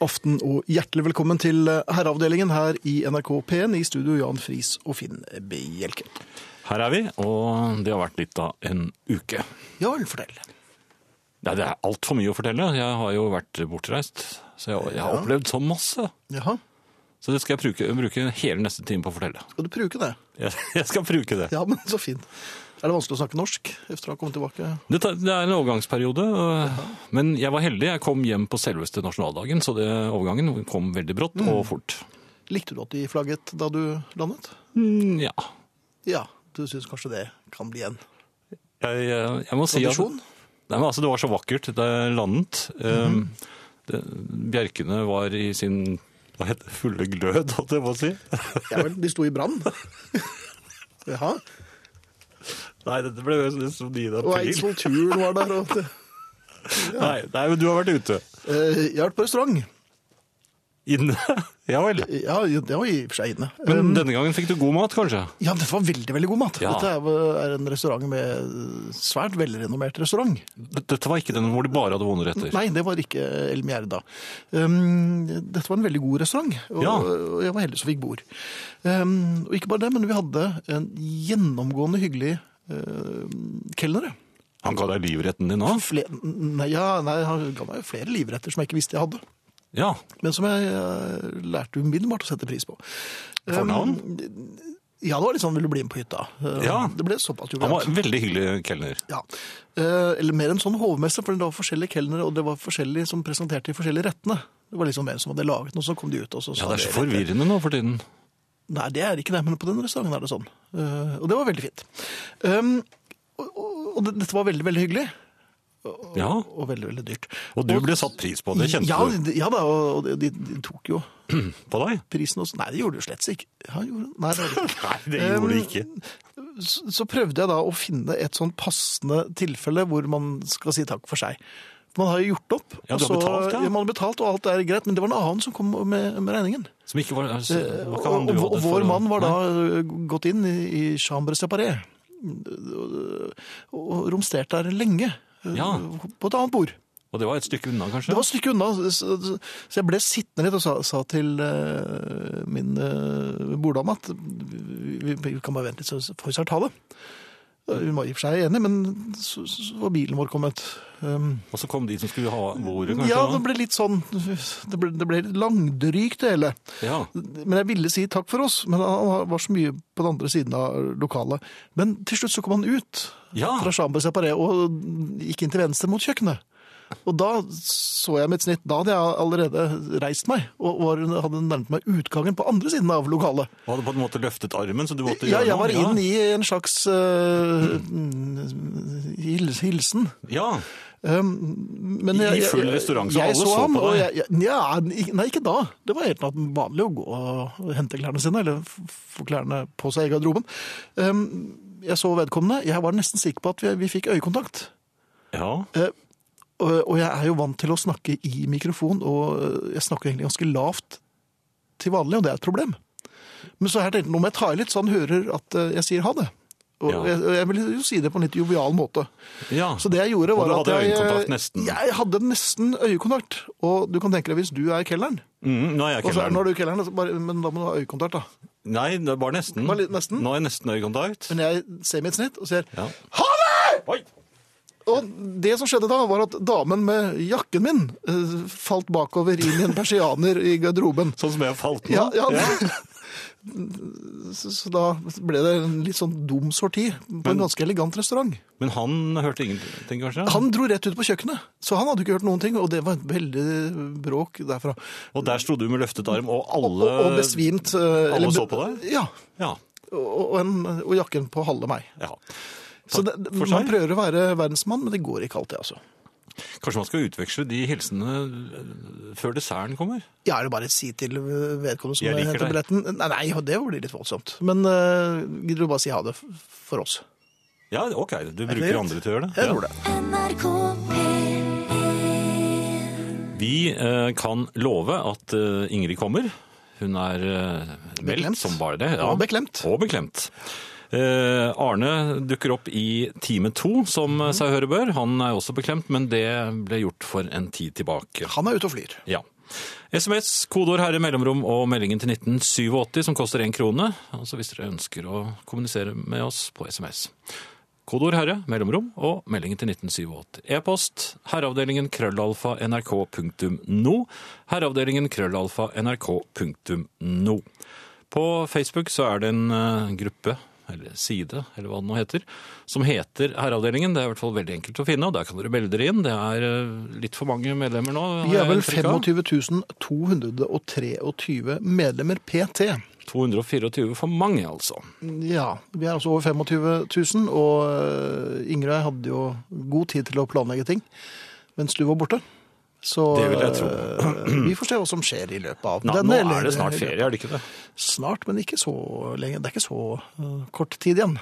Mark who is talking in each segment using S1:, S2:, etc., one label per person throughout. S1: aften og hjertelig velkommen til eh, Herreavdelingen her i NRK P1 i studio Jan Friis og Finn Bjelke.
S2: Her er vi, og det har vært litt av en uke.
S1: Ja vel, fortell.
S2: Nei, det er altfor mye å fortelle. Jeg har jo vært bortreist, så jeg, jeg har
S1: Ja.
S2: opplevd så masse.
S1: Jaha,
S2: Så det skal jeg bruke, bruke hele neste time på å fortelle.
S1: skal du bruke det?
S2: Jeg, jeg skal bruke det.
S1: Ja, men så fint. Er det vanskelig å snakke norsk efter å ha kommet tilbake?
S2: Det, tar- det er en overgangsperiode, øh, men jeg var heldig. Jeg kom hjem på selveste nasjonaldagen, så det, overgangen kom veldig brått og fort.
S1: Likte du at de flagget da du landet?
S2: Mm, ja.
S1: Ja, du synes kanskje det kan bli en
S2: Jeg, eh, jeg, jeg må si at
S1: tradisjon?
S2: Nei, men altså, det var så vakkert da jeg landet. Eh, det, bjerkene var i sin hva heter det, fulle glød, holdt jeg på å si.
S1: Ja vel, de sto i brann. Jaha,
S2: Nei, dette ble jo sånn nesten som 9.
S1: og
S2: april.
S1: Eidsvollturen var der. Og det.
S2: Nei, nei, men du har vært ute.
S1: Eh, Jeg har vært på restaurant.
S2: Inne. Ja vel.
S1: Ja, det var i og for seg inne.
S2: Men denne gangen fikk du god mat, kanskje?
S1: Ja, men dette var veldig, veldig god mat.
S2: Ja.
S1: Dette er, er en restaurant med svært velrenommert restaurant.
S2: D- Dette var ikke den hvor de bare hadde vonde retter.
S1: Nei, det var ikke El Mierda. Um, dette var en veldig god restaurant, og,
S2: Ja.
S1: og jeg var heldig som fikk bord. Um, og ikke bare det, men vi hadde en gjennomgående hyggelig uh, kelner.
S2: Han ga deg livretten din òg?
S1: Fle- nei, ja, nei, han ga meg jo flere livretter som jeg ikke visste jeg hadde.
S2: Ja.
S1: Men som jeg eh, lærte umiddelbart å sette pris på. Um,
S2: Fornavn?
S1: Ja, det var litt sånn 'vil du bli med på hytta'? Uh,
S2: Ja.
S1: Det ble såpass
S2: Han
S1: jovialt.
S2: var en veldig hyggelig kelner.
S1: Ja. Eh, Eller mer en sånn hovmesse, for det var forskjellige kelnere, og det var forskjellige som presenterte de forskjellige rettene. Det var liksom en som hadde laget noe, så kom de ut og så
S2: Ja,
S1: sa
S2: det er så
S1: de-
S2: forvirrende nå for tiden.
S1: Nei, det er ikke det, men på den restauranten er det sånn. Eh, Og det var veldig fint. Um, og, og, og det- dette var veldig, veldig hyggelig,
S2: Ja.
S1: og veldig, veldig dyrt.
S2: Og du ble satt pris på. Det
S1: ja,
S2: kjente du
S1: de- Ja da, og de, de tok jo
S2: på deg?
S1: prisen også. Nei, det gjorde du slett ikke. Ja, gjorde, nei, det gjorde de ikke.
S2: Nei, det gjorde du
S1: Um,
S2: ikke.
S1: Så så prøvde jeg da å finne et sånn passende tilfelle hvor man skal si takk for seg. For Man har jo gjort opp,
S2: Ja,
S1: og
S2: du har
S1: så,
S2: betalt, ja.
S1: ja, man har betalt, og alt er greit, men det var en annen som kom med, med regningen.
S2: Som ikke var, altså, det var ikke han
S1: eh, Og,
S2: du
S1: og,
S2: hadde
S1: og
S2: for
S1: vår
S2: å-
S1: mann var da
S2: Nei.
S1: eh, gått inn i, i chambre separé, og, og romstert der lenge, eh,
S2: Ja.
S1: på et annet bord.
S2: Og det var et stykke unna, kanskje?
S1: Det var et stykke unna, så, så- så jeg ble sittende litt og sa, sa til eh, min uh, borddame at vi, vi vi kan bare vente litt, så får vi snart ha det. Eh, Hun var i og for seg enig, men så, så var bilen vår kommet. Um,
S2: Og så kom de som skulle ha bordet, kanskje?
S1: ja,
S2: da?
S1: det ble litt sånn Det ble, det ble litt langdrygt, det hele.
S2: ja.
S1: Men jeg ville si takk for oss, men han var så mye på den andre siden av lokalet. Men til slutt så kom han ut
S2: Ja.
S1: fra chambre separé og gikk inn til venstre mot kjøkkenet. Og da så jeg mitt snitt. Da hadde jeg allerede reist meg og var, hadde nærmet meg utgangen på andre siden av lokalet.
S2: Og hadde på en måte løftet armen, så du måtte
S1: Ja,
S2: gjøre
S1: jeg var
S2: noe.
S1: inn i en slags øh, mm, hils- hilsen.
S2: Ja.
S1: Um, men
S2: I
S1: jeg,
S2: full
S1: jeg-
S2: restaurant, så
S1: jeg
S2: alle så på
S1: og
S2: deg.
S1: Jeg, jeg, nja, ik- nei, ikke da. Det var helt vanlig å gå og hente klærne sine, eller f- få klærne på seg i garderoben. Um, jeg så vedkommende. Jeg var nesten sikker på at vi, vi fikk øyekontakt.
S2: ja.
S1: Eh, og, og jeg er jo vant til å snakke i mikrofon, og eh, jeg snakker egentlig ganske lavt til vanlig, og det er et problem. Men så her tenkte jeg, nå må jeg ta i litt, så han hører at eh, jeg sier ha det. Og
S2: Ja.
S1: jeg, jeg ville jo si det på en litt jovial måte.
S2: ja.
S1: Så det jeg gjorde
S2: Og
S1: var
S2: du
S1: at
S2: hadde
S1: jeg,
S2: øyekontakt nesten?
S1: Jeg hadde nesten øyekontakt. Og du kan tenke deg hvis du er kelleren,
S2: Mm, nå er jeg
S1: og så er-
S2: kelneren.
S1: når du er kelleren, så bare, men da må du ha øyekontakt da.
S2: Nei, det var nesten.
S1: Bare litt nesten?
S2: Nå er jeg nesten øyekontakt.
S1: Men jeg ser mitt snitt og sier
S2: Ja.
S1: ha det!
S2: Oi!
S1: Og det som skjedde da var at damen med jakken min eh, falt bakover inn i en persianer i garderoben.
S2: Sånn som jeg falt nå.
S1: Ja, ja. Så, så da ble det en litt sånn dum sorti på en ganske elegant restaurant.
S2: Men han hørte ingenting, kanskje?
S1: Han dro rett ut på kjøkkenet, så han hadde ikke hørt noen ting, og det var et veldig bråk derfra.
S2: Og der sto du med løftet arm, og
S1: Og,
S2: alle
S1: og besvimt. Alle
S2: så på deg?
S1: Ja,
S2: Ja.
S1: og, og, en, og jakken på halve meg.
S2: ja.
S1: Så det,
S2: for
S1: man
S2: seg.
S1: prøver å være verdensmann, men det går ikke alltid, altså.
S2: Kanskje man skal utveksle de hilsene eh, før desserten kommer?
S1: Jeg er det bare å si til vedkommende som
S2: Jeg liker
S1: henter
S2: deg.
S1: billetten Nei, nei, det blir litt voldsomt. Men eh, gidder du bare si ha det f- for oss?
S2: Ja, ok. Du
S1: det
S2: bruker
S1: greit?
S2: andre til å gjøre det?
S1: Jeg
S2: Ja.
S1: tror det.
S3: NRK P1
S2: Vi eh, kan love at eh, Ingrid kommer. Hun er eh,
S1: Beklemt.
S2: meldt som bare det.
S1: Og beklemt.
S2: Og beklemt. Eh, Arne dukker opp i time to, som mm. seg høre bør. Han er også beklemt, men det ble gjort for en tid tilbake.
S1: Han er ute og flyr.
S2: Ja. SMS, kodeord herre mellomrom og meldingen til 1987 som koster én krone. Altså hvis dere ønsker å kommunisere med oss på SMS. Kodeord herre, mellomrom og meldingen til 1987. E-post herreavdelingen krøllalfa nrk.no. Herreavdelingen krøllalfa nrk.no. På Facebook så er det en eh, gruppe, eller side, eller hva det nå heter, som heter Herreavdelingen. Det er i hvert fall veldig enkelt å finne, og der kan dere melde dere inn. Det er eh, litt for mange medlemmer nå. har
S1: Vi er
S2: jeg
S1: vel
S2: inntrykk av.
S1: 25 223 medlemmer PT.
S2: 224 for mange, altså.
S1: Ja, vi er altså over 25 000, og øh, Ingrid hadde jo god tid til å planlegge ting mens du var borte. Så
S2: Det vil jeg tro.
S1: øh, vi får se hva som skjer i løpet av
S2: Nå,
S1: denne.
S2: nå
S1: eller-
S2: er det snart ferie, er det ikke det?
S1: Snart, men ikke så lenge. Det er ikke så øh, kort tid igjen.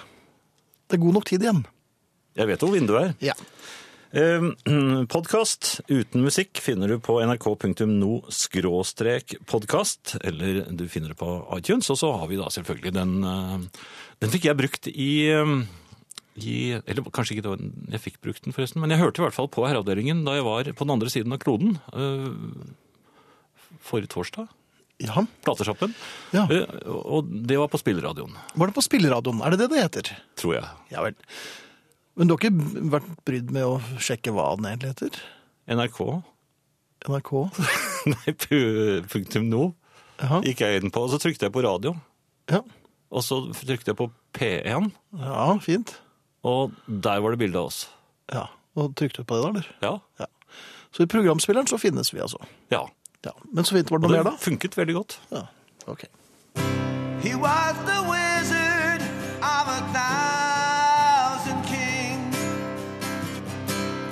S1: Det er god nok tid igjen.
S2: Jeg vet hvor vinduet er.
S1: Ja.
S2: Eh, Podkast uten musikk finner du på nrk.no podkast, eller du finner det på iTunes. Og så har vi da selvfølgelig den eh, Den fikk jeg brukt i, eh, i Eller kanskje ikke det var den jeg fikk brukt den, forresten. Men jeg hørte i hvert fall på Herreavdelingen da jeg var på den andre siden av kloden eh, forrige torsdag.
S1: ja.
S2: Platesjappen.
S1: Ja.
S2: Eh, Og det var på spilleradioen,
S1: Var det på spilleradioen? Er det det det heter?
S2: tror jeg.
S1: Ja vel. Men du har ikke vært brydd med å sjekke hva den egentlig heter?
S2: NRK.
S1: NRK?
S2: Nei, pu- punktum no.
S1: Jaha.
S2: gikk jeg inn på, og så trykte jeg på radio.
S1: Ja.
S2: Og så trykte jeg på P1,
S1: ja, fint.
S2: og der var det bilde av oss.
S1: Ja, Og trykte du på det, da? eller?
S2: Ja.
S1: Ja. Så i programspilleren så finnes vi, altså.
S2: ja.
S1: Ja. Men så vidt var det
S2: Og
S1: noe
S2: det
S1: mer, da?
S2: funket veldig godt.
S1: Ja, ok.
S3: He was the wizard of a thousand kings.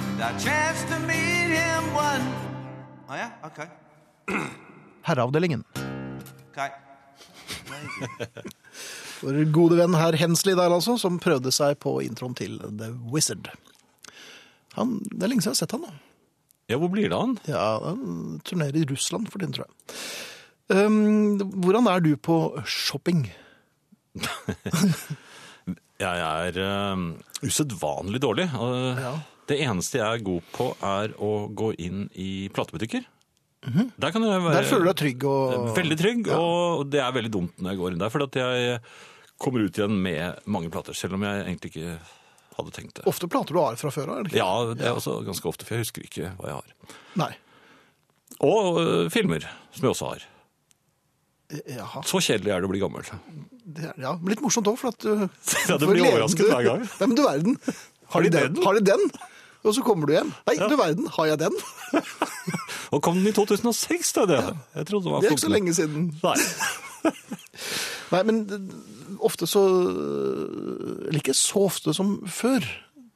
S3: And I chanced to meet him one. Oh yeah, okay,
S1: Herreavdelingen.
S3: okay.
S1: Vår gode venn herr Hensley der, altså, som prøvde seg på introen til The Wizard. Han, det er lenge siden jeg har sett han nå.
S2: Ja, hvor blir det av han?
S1: Ja, Han turnerer i Russland for tiden, tror jeg. Um, hvordan er du på shopping?
S2: Jeg er um, usedvanlig dårlig. og
S1: Ja.
S2: Det eneste jeg er god på, er å gå inn i platebutikker. Der kan jeg
S1: Mhm.
S2: være
S1: Der føler du deg trygg og
S2: veldig trygg, og det er veldig dumt når jeg går inn der, for at jeg kommer ut igjen med mange plater, selv om jeg egentlig ikke hadde tenkt det.
S1: Ofte plater du har fra før av, er det ikke?
S2: Ja, det er også ganske ofte, for jeg husker ikke hva jeg har.
S1: Nei.
S2: Og øh, filmer, som jeg også har.
S1: Eh, Jaha.
S2: Så kjedelig er det å bli gammel.
S1: Det er, ja, men litt morsomt òg, for at eh, du
S2: Ja, du
S1: for
S2: blir
S1: gleden-
S2: overrasket hver gang.
S1: Nei, men du verden. Har de den? Har de den? Og så kommer du hjem. Nei, du verden, har jeg den?
S2: Og kom den i 2006, da? Det, jeg trodde det var
S1: Det er ikke så
S2: 14.
S1: lenge siden.
S2: Nei.
S1: Nei, men eh, ofte så eh, Eller ikke så ofte som før.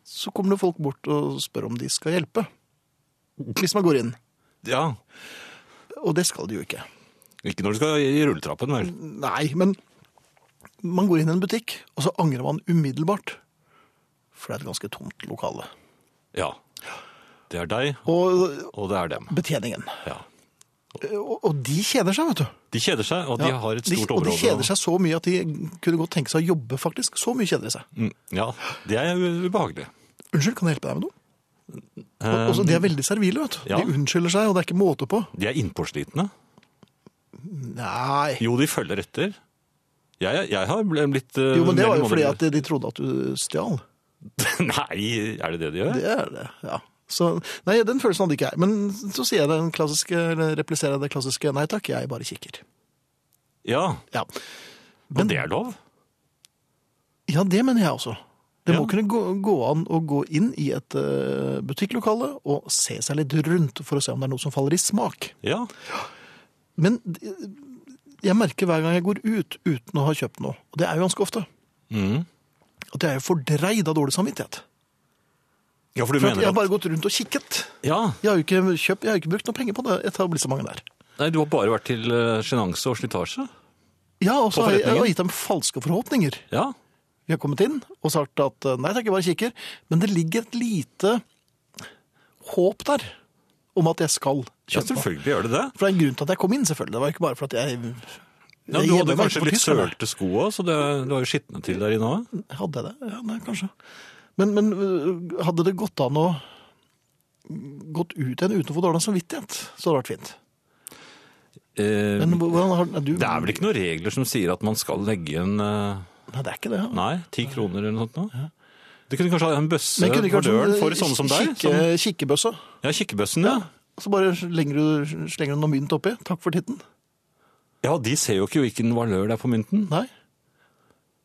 S1: Så kommer det folk bort og spør om de skal hjelpe. Hvis man går inn.
S2: Ja.
S1: Og det skal de jo ikke.
S2: Ikke når du skal i rulletrappen, vel?
S1: Nei, men man går inn i en butikk, og så angrer man umiddelbart. For det er et ganske tomt lokale.
S2: Ja. Det er deg,
S1: Og
S2: og det er dem.
S1: betjeningen.
S2: Ja.
S1: Og, og de kjeder seg, vet du.
S2: De kjeder seg, og de
S1: Ja,
S2: har et
S1: de-
S2: stort
S1: Og
S2: område.
S1: de kjeder seg så mye at de kunne godt tenke seg å jobbe, faktisk. Så mye kjeder de seg.
S2: Mm, Ja, det er u- ubehagelig.
S1: Unnskyld, kan jeg hjelpe deg med noe? Og, og så de er veldig servile, vet du.
S2: Um, ja.
S1: De unnskylder seg, og det er ikke måte på.
S2: De er innpåslitne.
S1: Nei.
S2: Jo, de følger etter. Jeg, jeg har bl- blitt øh,
S1: Jo, men det
S2: mer
S1: var jo
S2: eller
S1: fordi
S2: mindre-
S1: at de trodde at du stjal.
S2: Nei, er det det de gjør?
S1: Det er det, ja. Så, nei, den følelsen hadde ikke jeg. Men så sier jeg den klassiske, eller repliserer jeg det klassiske, nei takk, jeg bare kikker.
S2: Ja.
S1: Ja,
S2: Og det er lov?
S1: ja det mener jeg også. Det må
S2: Ja.
S1: kunne gå, gå an å gå inn i et eh, butikklokale og se seg litt rundt for å se om det er noe som faller i smak.
S2: Ja.
S1: Men eh, jeg merker hver gang jeg går ut uten å ha kjøpt noe, og det er jo ganske ofte,
S2: Mhm.
S1: at jeg er jo fordreid av dårlig samvittighet.
S2: Ja, for du
S1: For at
S2: mener
S1: jeg har
S2: at
S1: bare gått rundt og kikket.
S2: Ja,
S1: Jeg har jo ikke, kjøpt, jeg har jo ikke brukt noe penger på det etablissementet der.
S2: Nei, du har bare vært til eh, sjenanse og slitasje.
S1: Ja, og så
S2: På
S1: har jeg, jeg har
S2: forretningen?
S1: gitt dem falske forhåpninger.
S2: Ja.
S1: Vi har kommet inn og sagt at eh, nei takk, jeg bare kikker. Men det ligger et lite håp der om at jeg skal
S2: ja,
S1: kjøpe. noe.
S2: selvfølgelig gjør det det.
S1: for det er en grunn til at jeg kom inn, selvfølgelig. Det var ikke bare for at jeg jeg
S2: Ja, du
S1: gjemmer
S2: hadde
S1: meg
S2: kanskje
S1: for
S2: litt
S1: tyskerne.
S2: sølte sko òg, så det, du har jo skitne til der inne òg.
S1: Hadde jeg det? Ja, nei, kanskje. Men, men øh, hadde det gått an å gått ut igjen uten å få dårlig samvittighet, så hadde det vært fint.
S2: eh,
S1: Men hvordan har den du,
S2: det er vel ikke noen regler som sier at man skal legge en eh,
S1: Nei, det er ikke det. Ja.
S2: Nei, ti kroner eller noe sånt. nå. Du kunne kanskje ha en bøsse
S1: Men kunne det ikke
S2: på
S1: vært
S2: døren
S1: sånn,
S2: for sånne som deg? sånn?
S1: kikke-
S2: Som,
S1: Kikkebøsse.
S2: ja, kikkebøssen, ja.
S1: Så bare slenger du, slenger du noe mynt oppi. Takk for titten.
S2: Ja, de ser jo ikke hvilken valør det er på mynten.
S1: Nei.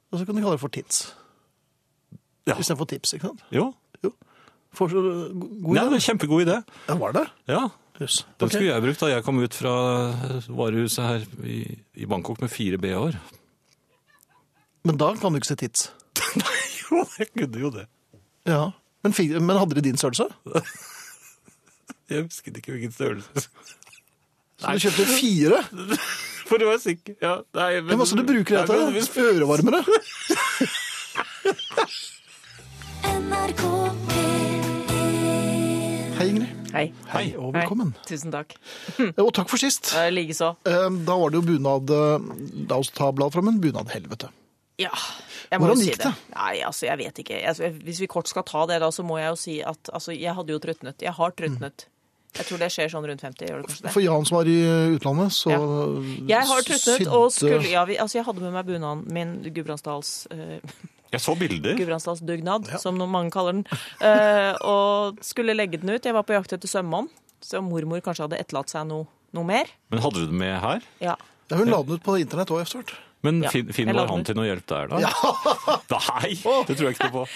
S1: Og så kan du kalle det for tits.
S2: Ja.
S1: Istedenfor tips, ikke sant?
S2: Jo,
S1: Jo. For så god
S2: Nei,
S1: idé.
S2: det er en kjempegod idé.
S1: Ja, var det?
S2: Ja,
S1: Jøss.
S2: Den
S1: Ok.
S2: skulle jeg brukt da jeg kom ut fra eh, varehuset her i, i Bangkok med fire BH-er.
S1: Men da kan du ikke se tits.
S2: Jo, jeg kunne jo det.
S1: Ja. Men, fi- men hadde de din størrelse?
S2: Jeg husket ikke hvilken størrelse.
S1: Så du kjøpte fire?
S2: For å være sikker. Ja, nei, men,
S1: Hvem er det du bruker dette?
S2: Nei, men hvis-
S1: Ørevarmere?
S4: NRK P1
S1: Hei, Ingrid.
S5: Hei.
S1: Hei, og velkommen.
S5: Hei. Tusen takk.
S1: Og takk for sist.
S5: Eh, Likeså.
S1: Eh, Da var det jo bunad eh, La oss ta bladet fram en bunad helvete.
S5: Ja. Jeg må
S1: Hvordan
S5: jo si
S1: gikk det?
S5: Nei, altså, jeg vet ikke. Altså, jeg- hvis vi kort skal ta det, da, så må jeg jo si at altså, jeg hadde jo trutnet. Jeg har trutnet. Jeg tror det skjer sånn rundt 50. Gjør det kanskje det?
S1: For Jan som var i eh, utlandet, så
S5: Ja. Jeg har trutnet, og
S1: sydde-
S5: skulle, ja, vi, altså jeg hadde med meg bunaden min, Gudbrandsdals, eh,
S2: Jeg så bilder.
S5: Gudbrandsdalsdugnad, som noen mange kaller den, eh, og skulle legge den ut. Jeg var på jakt etter sømmann, så mormor kanskje hadde etterlatt seg noe, noe mer.
S2: Men hadde du det med her?
S5: Ja.
S1: Ja, hun la den ut på internett òg etter hvert.
S2: Men
S5: Ja,
S2: Finn, Finn
S5: jeg
S2: var
S5: la
S2: han
S5: den
S2: til noe hjelp der, da? Nei, det tror jeg ikke noe på.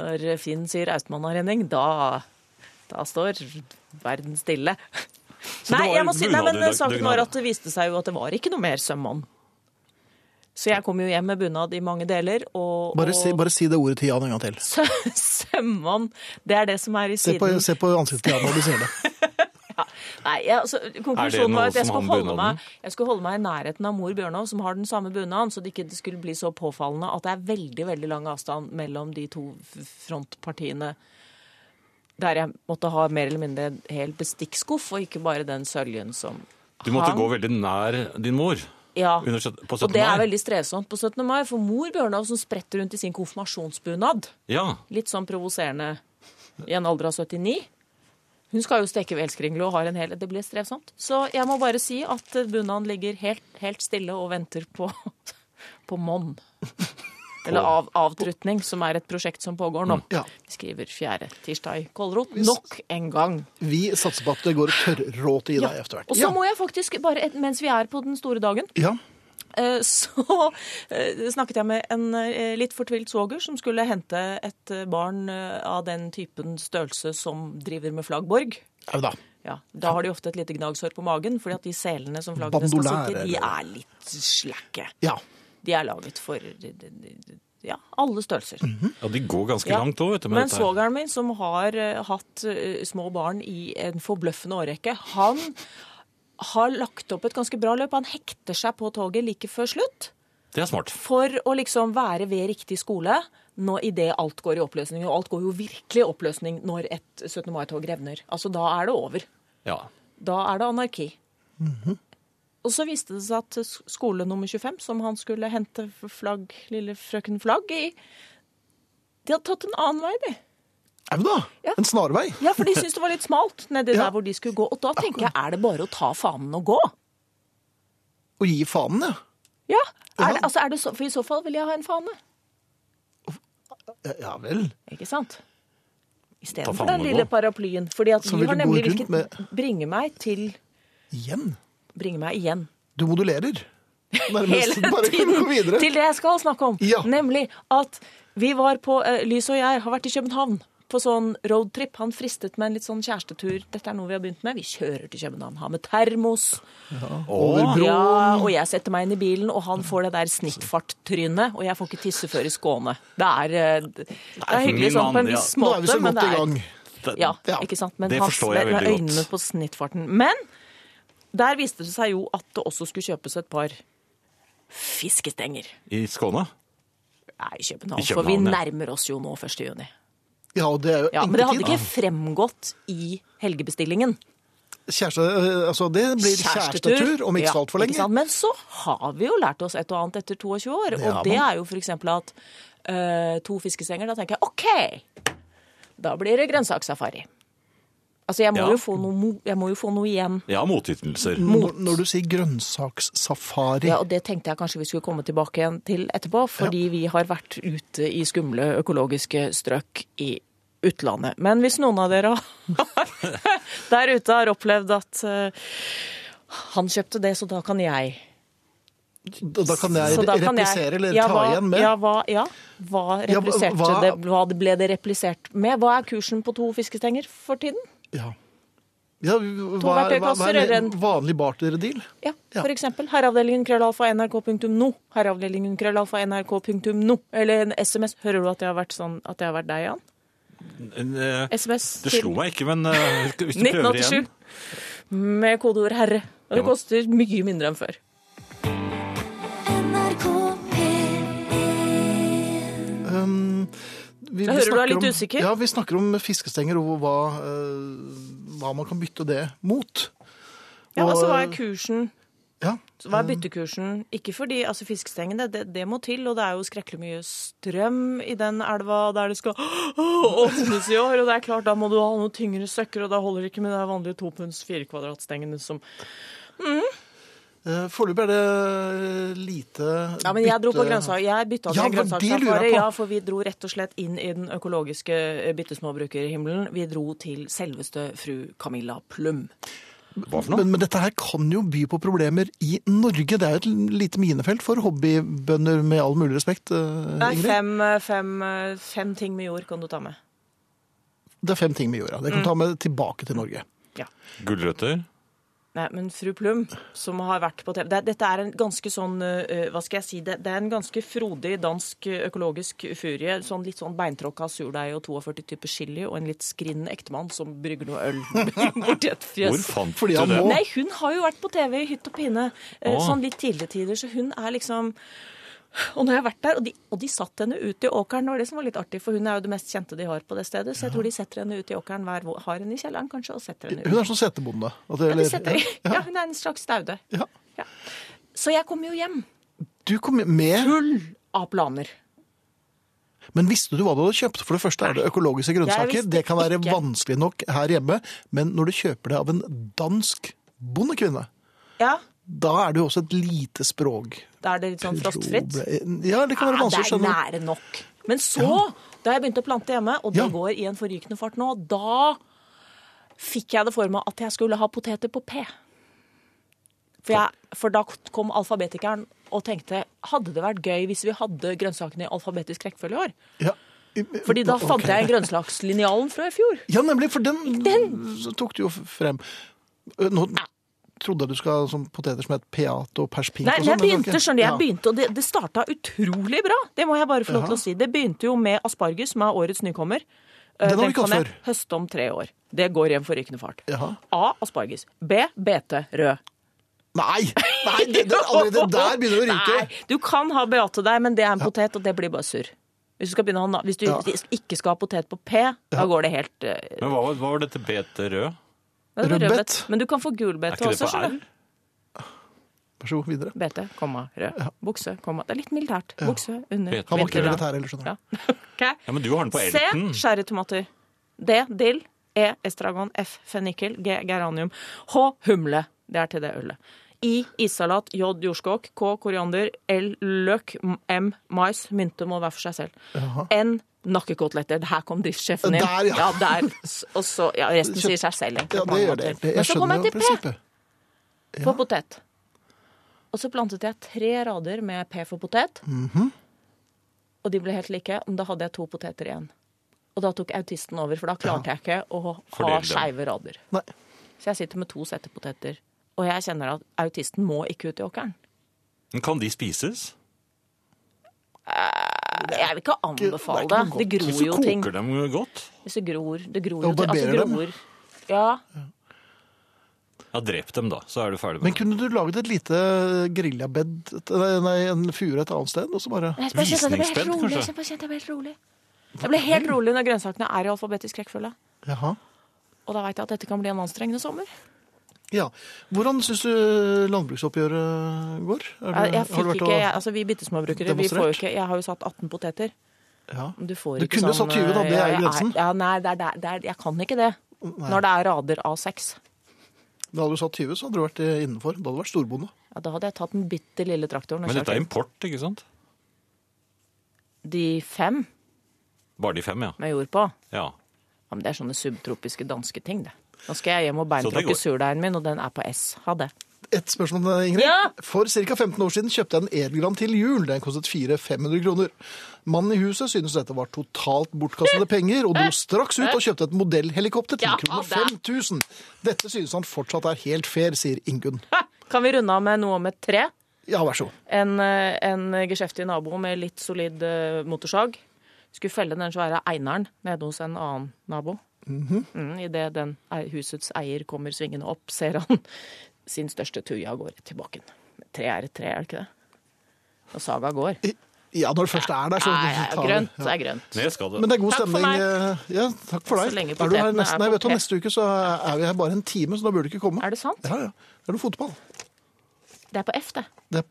S5: Når Finn sier Austmann og Renning, da, da står verden stille. Nei,
S2: var
S5: jeg må si, nei,
S2: bunad i
S5: men
S2: dag-
S5: saken
S2: dugnad,
S5: var
S2: da.
S5: at det viste seg jo at det var ikke noe mer sømmann. Så jeg kom jo hjem med bunad i mange deler, og,
S1: Bare,
S5: og
S1: si, bare si det ordet til Jan en gang til.
S5: sø- sømmann, det er det som er i
S1: Se på,
S5: siden.
S1: se på ansiktet til Jan når du sier det.
S5: Nei, jeg, altså,
S2: Er det
S5: konklusjonen
S2: noe
S5: var at jeg
S2: som
S5: skulle,
S2: han
S5: holde
S2: bunaden?
S5: meg, jeg skulle holde meg i nærheten av mor Bjørnov, som har den samme bunaden, så det ikke skulle bli så påfallende at det er veldig veldig lang avstand mellom de to f- frontpartiene. Der jeg måtte ha mer eller mindre en hel bestikkskuff, og ikke bare den søljen som
S2: Du måtte
S5: hang.
S2: gå veldig nær din mor.
S5: ja.
S2: Under, sjøt- på 17.
S5: Og det er
S2: mai.
S5: veldig strevsomt på 17. mai, for mor Bjørnov som spretter rundt i sin konfirmasjonsbunad,
S2: Ja,
S5: litt sånn provoserende i en alder av 79. Hun skal jo steke velskringle og har en hel Det blir strevsomt. Så jeg må bare si at bunaden ligger helt, helt stille og venter på, på monn. Eller av, avtrutning, som er et prosjekt som pågår nå.
S1: Mm, Ja.
S5: Vi skriver fjerde tirsdag i Kålrot. Nok en gang.
S1: Vi satser på at det går tørråt i deg etter hvert.
S5: Og så må jeg faktisk, bare et- mens vi er på den store dagen,
S1: ja.
S5: Eh, så eh, snakket jeg med en eh, litt fortvilt svoger som skulle hente et eh, barn eh, av den typen størrelse som driver med flaggborg.
S1: Au da.
S5: Ja, da har de ofte et lite gnagsår på magen, fordi at de selene som flaggene skal sitte i, de
S1: Bandolære,
S5: er litt slakke.
S1: Ja.
S5: De er laget for de- de- de- ja, alle størrelser.
S2: ja de går ganske
S5: Ja.
S2: Mm, langt òg, vet du. med
S5: Men
S2: dette her.
S5: svogeren min, som har eh, hatt eh, små barn i en forbløffende årrekke, han har lagt opp et ganske bra løp. Han hekter seg på toget like før slutt
S2: Det er smart.
S5: for å liksom være ved riktig skole nå idet alt går i oppløsning. Og alt går jo virkelig i oppløsning når et 17. mai-tog revner. Altså, da er det over.
S2: Ja.
S5: Da er det anarki. Og så viste det seg at s- skole nummer 25, som han skulle hente flagg, lille frøken Flagg i, de hadde tatt en annen vei, de.
S1: Au da.
S5: Ja.
S1: En snarvei.
S5: Ja, for de syntes det var litt smalt nedi
S1: Ja.
S5: der hvor de skulle gå. Og da tenker jeg, er det bare å ta fanen og gå?
S1: Å gi fanen, ja.
S5: Ja.
S1: Ja.
S5: Er det, altså, er det så, for i så fall vil jeg ha en fane.
S1: Ja, Ja vel.
S5: Ikke sant?
S2: Ta
S5: Istedenfor
S2: faen
S5: den
S2: og
S5: lille
S2: gå.
S5: paraplyen. Fordi at
S1: Så
S5: vi
S1: vil
S5: har
S1: du gå
S5: nemlig
S1: rundt
S5: hvilket Bringe meg til
S1: Igjen.
S5: Bringe meg igjen.
S1: Du modulerer.
S5: Hele
S1: Nærmest. Bare
S5: tiden
S1: gå videre.
S5: til det jeg skal snakke om.
S1: Ja.
S5: Nemlig at vi var på eh, Lys og jeg har vært i København på sånn roadtrip. Han fristet med en litt sånn kjærestetur. Dette er noe vi har begynt med. Vi kjører til København, har med termos.
S1: Over bro.
S5: Ja, og jeg setter meg inn i bilen, og han får det der snittfarttrynet. Og jeg får ikke tisse før i Skåne. Det er, eh, det er hyggelig
S2: min
S5: sånn på
S2: mann,
S5: en
S2: ja.
S5: viss
S1: Nå er
S5: måte,
S1: vi så
S5: men
S1: godt
S5: det
S1: i
S5: er
S1: gang.
S2: Det-
S5: Ja,
S1: Ja,
S5: ikke sant? Men
S2: det
S5: han
S2: forstår jeg
S5: med- med
S2: veldig godt.
S5: øynene på snittfarten. Men der viste det seg jo at det også skulle kjøpes et par fiskestenger.
S2: I Skåne?
S5: Nei, i København,
S2: I
S5: for vi
S2: København, ja.
S5: nærmer oss jo nå 1. juni.
S1: Ja, og det er jo
S5: Ja, men det hadde
S1: enkelt
S5: ikke fremgått i helgebestillingen.
S1: Kjæreste, øh, altså det blir kjærestetur om ikke
S5: Ja,
S1: så altfor
S5: ikke
S1: lenge.
S5: sant? Men så har vi jo lært oss et og annet etter 22 år,
S1: har
S5: og det er jo f.eks. at eh, to fiskesenger, da tenker jeg OK, da blir det grønnsakssafari. Altså, jeg må,
S2: Ja.
S5: jo, få noe, mo- jeg må jo få noe igjen.
S2: Ja, motytelser.
S1: Når, når du sier grønnsakssafari
S5: Ja, og det tenkte jeg kanskje vi skulle komme tilbake igjen til etterpå, fordi vi har vært ute i skumle økologiske strøk i utlandet. Men hvis noen av dere har, der ute har opplevd at eh, han kjøpte det, så da kan jeg.
S1: Da da kan jeg
S5: Så da kan jeg-
S1: replisere eller
S5: Ja,
S1: ta
S5: hva-
S1: igjen med.
S5: Ja, hva, ja, hva,
S1: Ja, hva-
S5: repliserte
S1: hva-
S5: det, hva ble det replisert med? Hva er kursen på to fiskestenger for tiden?
S1: Ja. Ja, hva, er- hva, hva
S5: verktøykasser
S1: er
S5: eller
S1: en
S5: en-
S1: vanlig barterdeal?
S5: Ja,
S1: Ja.
S5: for eksempel herreavdelingen krøllalfa nrk.no, herreavdelingen krøllalfa nrk.no, eller en SMS. Hører du at jeg har vært sånn, at jeg har vært deg, Jan?
S2: Eh,
S5: SMS
S2: Det
S5: til
S2: slo meg ikke, men eh, hvis du prøver
S5: 1987
S2: igjen
S5: med kodeord 'herre'.
S2: Ja,
S5: Og
S2: men-
S5: det koster mye mindre enn før.
S4: NRK P1
S1: Um, vi,
S5: Jeg hører du er
S1: snakker
S5: litt
S1: om-
S5: usikker.
S1: Ja, vi snakker om fiskestenger og hva, eh, hva man kan bytte det mot.
S5: Ja,
S1: Og-
S5: altså hva er kursen?
S1: Ja,
S5: Så Hva er
S2: Mm.
S5: byttekursen? Ikke fordi altså fiskestengene, det, det må til, og det er jo skrekkelig mye strøm i den elva der det skal åpnes i år, og det er klart, da må du ha noen tyngre søkker, og da holder det ikke med de vanlige to punds fire kvadratstengene som
S1: eh, Foreløpig er det lite
S5: Ja, men jeg dro på
S1: bytte-
S5: grønnsak. Jeg bytta til
S1: Ja,
S5: ja,
S1: det var det jeg lurer på.
S5: Ja, for vi dro rett og slett inn i den økologiske eh, bittesmåbrukerhimmelen. Vi dro til selveste fru Camilla Plum.
S2: Hva for noe?
S1: Men, men dette her kan jo by på problemer i Norge. Det er jo et lite minefelt for hobbybønder, med all mulig respekt. eh,
S5: Det er
S1: Ingrid.
S5: fem, eh, fem, eh, fem ting med jord kan du ta med.
S1: Det er fem ting vi gjør. Ja. Det kan vi ta
S5: Mm.
S1: med tilbake til Norge.
S5: Ja.
S2: Gulrøtter?
S5: Nei, men fru Plum, som har vært på TV det, Dette er en ganske sånn, eh, hva skal jeg si, det, det er en ganske frodig dansk eh, økologisk furie. Sånn litt sånn beintråkka surdeig og 42 typer chili og en litt skrinne ektemann som brygger noe øl borti et
S2: Hvor
S5: fjes.
S2: fant
S1: Fordi
S2: du
S1: han
S2: det?
S1: må-
S5: Nei, hun har jo vært på TV i hytt og pine eh,
S2: Å.
S5: sånn litt tidligere tider, så hun er liksom og nå har jeg vært der, og de, og de satt henne ut i åkeren. Det var det som var litt artig, for hun er jo det mest kjente de har på det stedet. Så jeg tror de setter henne ut i åkeren hver vår. Har henne i kjelleren, kanskje, og setter henne ut.
S1: Hun er sånn setebonde. at det-
S5: Ja,
S1: eller-
S5: de setter, ja, hun er en slags staude.
S1: Ja.
S5: Ja. Så jeg kom jo hjem
S1: Du kom med,
S5: full av planer.
S1: men visste du hva du hadde kjøpt? For det første er det økologiske grønnsaker.
S5: visste
S1: Det kan være
S5: ikke.
S1: vanskelig nok her hjemme, men når du kjøper det av en dansk bondekvinne,
S5: Ja,
S1: da er det jo også et lite språk.
S5: Da er det litt sånn frostfritt.
S1: Ja, det kan være
S5: Ja, Ah, det
S1: vanskelig å
S5: er
S1: skjønne.
S5: nære nok. Men så, da jeg begynte å plante hjemme, og det
S1: Ja.
S5: går i en forrykende fart nå, da fikk jeg det for meg at jeg skulle ha poteter på P. For, jeg, for da kom alfabetikeren og tenkte hadde det vært gøy hvis vi hadde grønnsakene i alfabetisk rekkefølge i år?
S1: Ja.
S5: Fordi da fant
S1: Ok.
S5: jeg grønnsakslinjalen fra i fjor.
S1: Ja, nemlig, for den, tok du jo frem. Ø, Nå trodde jeg du skal ha sånn poteter som het peato og perspink
S5: Nei,
S1: og sånn. men det
S5: men jeg
S1: var
S5: begynte,
S1: ikke-
S5: skjønner du,
S1: Ja.
S5: jeg begynte, og det, det starta utrolig bra. Det må jeg bare få lov til
S1: Jaha.
S5: å si. Det begynte jo med asparges, som er årets nykommer. Eh,
S1: Den har vi ikke
S5: kan
S1: hatt
S5: jeg høste om tre år. Det går i en forrykende fart.
S1: Jaha.
S5: A. Asparges. B. BT. Rød.
S1: Nei! Nei det, det, allerede der begynner det å rynke.
S5: Nei, du kan ha Beate der, men det er en potet, og det blir bare surr. Hvis du, skal begynne, å ha na- hvis du
S1: Ja.
S5: ikke skal ha potet på P, da går det helt eh,
S2: Men hva, var- hva var dette bete rød?
S5: det blir
S1: Rødbet.
S5: rødbet. Men du kan få
S2: Er
S5: gulbete
S2: ikke det
S5: også, sånn.
S2: på R?
S5: skjønner du.
S1: Vær så god, videre.
S5: BT, komma, rød. Bukse, komma. Det er litt militært. Bukse under.
S2: BT.
S1: Han var ikke
S5: BT.
S1: militær heller, skjønner du.
S5: Ja. Ok.
S2: Ja, men du har den på
S5: C.
S2: elten.
S5: Sherrytomater. D. Dill. E. Estragon. F. Fennikel. G. Geranium. H. Humle. Det er til det ølet. I. Issalat. J. Jordskokk. K. Koriander. L. Løk. M. Mais. Mynte må være for seg selv. N. Nakkekoteletter. Der kom driftssjefen inn.
S1: Der, ja.
S5: der. S- Og så, ja, resten sier seg selv. egentlig,
S1: Ja,
S5: på
S1: det
S5: mange
S1: gjør det
S5: måter.
S1: egentlig.
S5: Men
S1: Jeg
S5: så kom
S1: skjønner jo
S5: jeg til P
S1: prinsippet.
S5: for potet. Og så plantet jeg tre rader med P for potet.
S1: Mhm.
S5: Og de ble helt like. Men da hadde jeg to poteter igjen. Og da tok autisten over, for da klarte jeg ikke å ha
S2: Fordele dem.
S5: skeive rader.
S1: Nei.
S5: Så jeg sitter med to settepoteter. Og jeg kjenner at autisten må ikke ut i åkeren.
S2: Men Kan de spises?
S5: Jeg vil ikke
S1: det er
S5: anbefale
S1: ikke noe godt.
S5: det. Det gror
S2: Så
S5: jo ting.
S2: koker dem godt.
S5: Hvis det gror, det gror
S1: Ja,
S5: jo
S1: og
S5: ting. Altså,
S1: barberer dem.
S5: gror. Ja.
S2: Ja, drep dem da, så er du ferdig
S1: Men
S2: med det.
S1: kunne du laget et lite griljabed, et- eh, nei, en fure et annet sted, og så bare
S5: Jeg bare kjente at jeg ble helt
S2: Visningsspenn,
S5: rolig.
S2: kanskje?
S5: Jeg bare kjente at jeg ble helt rolig. Jeg ble helt rolig når grønnsakene er i alfabetisk rekkefølge.
S1: Jaha.
S5: Og da veit jeg at dette kan bli en anstrengende sommer.
S1: Ja. Hvordan syns du landbruksoppgjøret går? Er
S5: Jeg, jeg
S1: har du
S5: fikk
S1: vært
S5: ikke,
S1: og-
S5: jeg, altså Vi bittesmåbrukere vi får jo
S1: demonstrert?
S5: ikke Jeg har jo satt 18 poteter.
S1: ja.
S5: Du får
S1: Du
S5: ikke
S1: kunne
S5: sånn
S1: satt 20, da. Det
S5: ja,
S1: er
S5: jeg
S1: grensen.
S5: Ja, nei, det er, det er, det er, jeg kan ikke det. Når det er rader av seks.
S1: Da hadde du satt 20, så hadde du vært eh, innenfor. Da hadde du vært storbonde.
S5: Ja, da hadde jeg tatt den bitte lille traktoren. og
S2: Men dette
S5: kjørt
S2: er import, ikke sant?
S5: De fem
S2: Bare de fem, ja.
S5: med jord på.
S2: ja.
S5: Ja, men det er sånne subtropiske danske ting, det. Nå skal jeg hjem og
S2: Så det
S5: beintråkke
S2: går.
S5: surdeigen min, og den er på S. Ha det.
S1: Et spørsmål, eh, Ingrid.
S5: Ja!
S1: For ca. 15 år siden kjøpte jeg en Elgran til jul. Den kostet 400-500 kroner. Mannen i huset syntes dette var totalt bortkastede penger, og dro straks ut og kjøpte et modellhelikopter til
S5: Ja,
S1: kroner
S5: det.
S1: 5000. Dette synes han fortsatt er helt fair, sier Ingunn.
S5: Ha! Kan vi runde av med noe om et tre?
S1: Ja, vær så god.
S5: En, eh, en geskjeftig nabo med litt solid eh, motorsag skulle felle den svære eineren nede hos en annen nabo. mm, Idet den ei- husets eier kommer svingende opp, ser han sin største tuja går rett til bakken. Tre er et tre, er det ikke det? Og saga går.
S1: I- Ja, når det først er der, så
S5: Nei, ja,
S1: tar vi-
S5: grønt
S1: Ja.
S5: er grønt.
S2: Ned skal det.
S1: Men det er god
S5: Takk for
S1: stemning. eh, Ja, takk for deg.
S5: Så lenge
S1: er du her
S5: potetene
S1: nesten,
S5: er
S1: nei, vet du,
S5: potet.
S1: neste uke så er vi her bare en time, så da burde du ikke komme.
S5: Er det sant?
S1: Ja, ja. Da er det fotball.
S5: Det er på F, det.
S1: Det...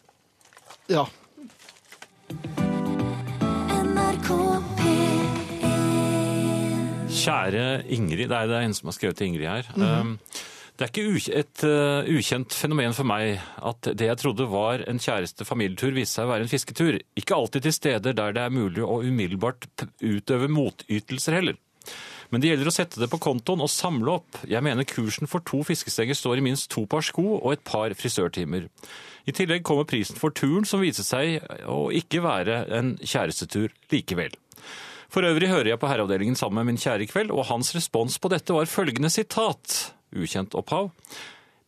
S1: Ja.
S4: NRK P1
S2: Kjære Ingrid, det er, det er en som har skrevet til Ingrid her. Um, Det er ikke u- et uh, ukjent fenomen for meg at det jeg trodde var en kjæreste familietur, viste seg å være en fisketur. Ikke alltid til steder der det er mulig å umiddelbart p- utøve motytelser heller. Men det gjelder å sette det på kontoen og samle opp. Jeg mener kursen for to fiskestenger står i minst to par sko og et par frisørtimer. I tillegg kommer prisen for turen, som viser seg å ikke være en kjærestetur likevel. For øvrig hører jeg på Herreavdelingen sammen med min kjære i kveld, og hans respons på dette var følgende sitat, ukjent opphav.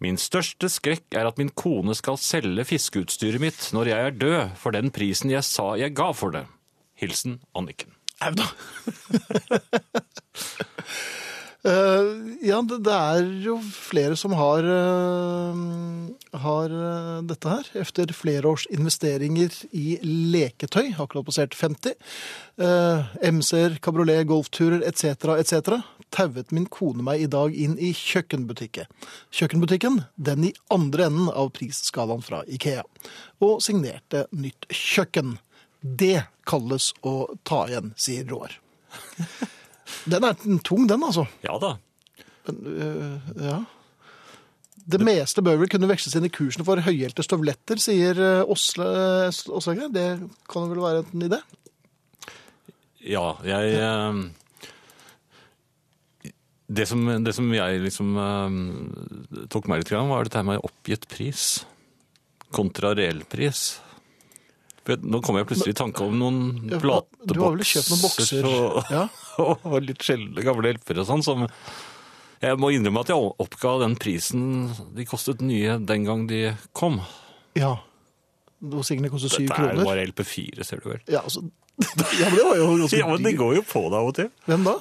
S2: Min største skrekk er at min kone skal selge fiskeutstyret mitt når jeg er død, for den prisen jeg sa jeg ga for det. Hilsen Anniken.
S1: Au da. Eh, ja, det, det er jo flere som har, eh, har eh, dette her. Efter flere års investeringer i leketøy, akkurat passert 50. Uh, MC-er, kabriolet, golfturer etc. etc. tauet min kone meg i dag inn i kjøkkenbutikket. Kjøkkenbutikken, den i andre enden av prisskalaen fra Ikea. Og signerte nytt kjøkken. Det kalles å ta igjen, sier Roar. Den er tung, den, altså.
S2: Ja da.
S1: Ja. Det meste bør vel kunne veksles inn i kursene for høyhælte støvletter, sier eh, Åsle Åsleger. Det kan vel være en idé?
S2: Ja, jeg eh, det, som, det som jeg liksom eh, tok meg litt grann, var dette her med oppgitt pris kontra reell pris. Vet- Nå kom jeg plutselig i tanke om noen
S1: Ja,
S2: platebokser.
S1: Du har vel kjøpt noen bokser?
S2: Og,
S1: Ja.
S2: og litt sjeldne gamle hjelpere og sånn. Som jeg må innrømme at jeg oppga den prisen de kostet nye den gang de kom.
S1: ja. Hos Signe koster syv
S2: Dette er jo
S1: kroner.
S2: bare LP4, ser du vel.
S1: Ja, altså. ja, men det var jo ganske
S2: Ja, men det
S1: dyrt.
S2: går jo på deg av og til.
S1: Hvem da?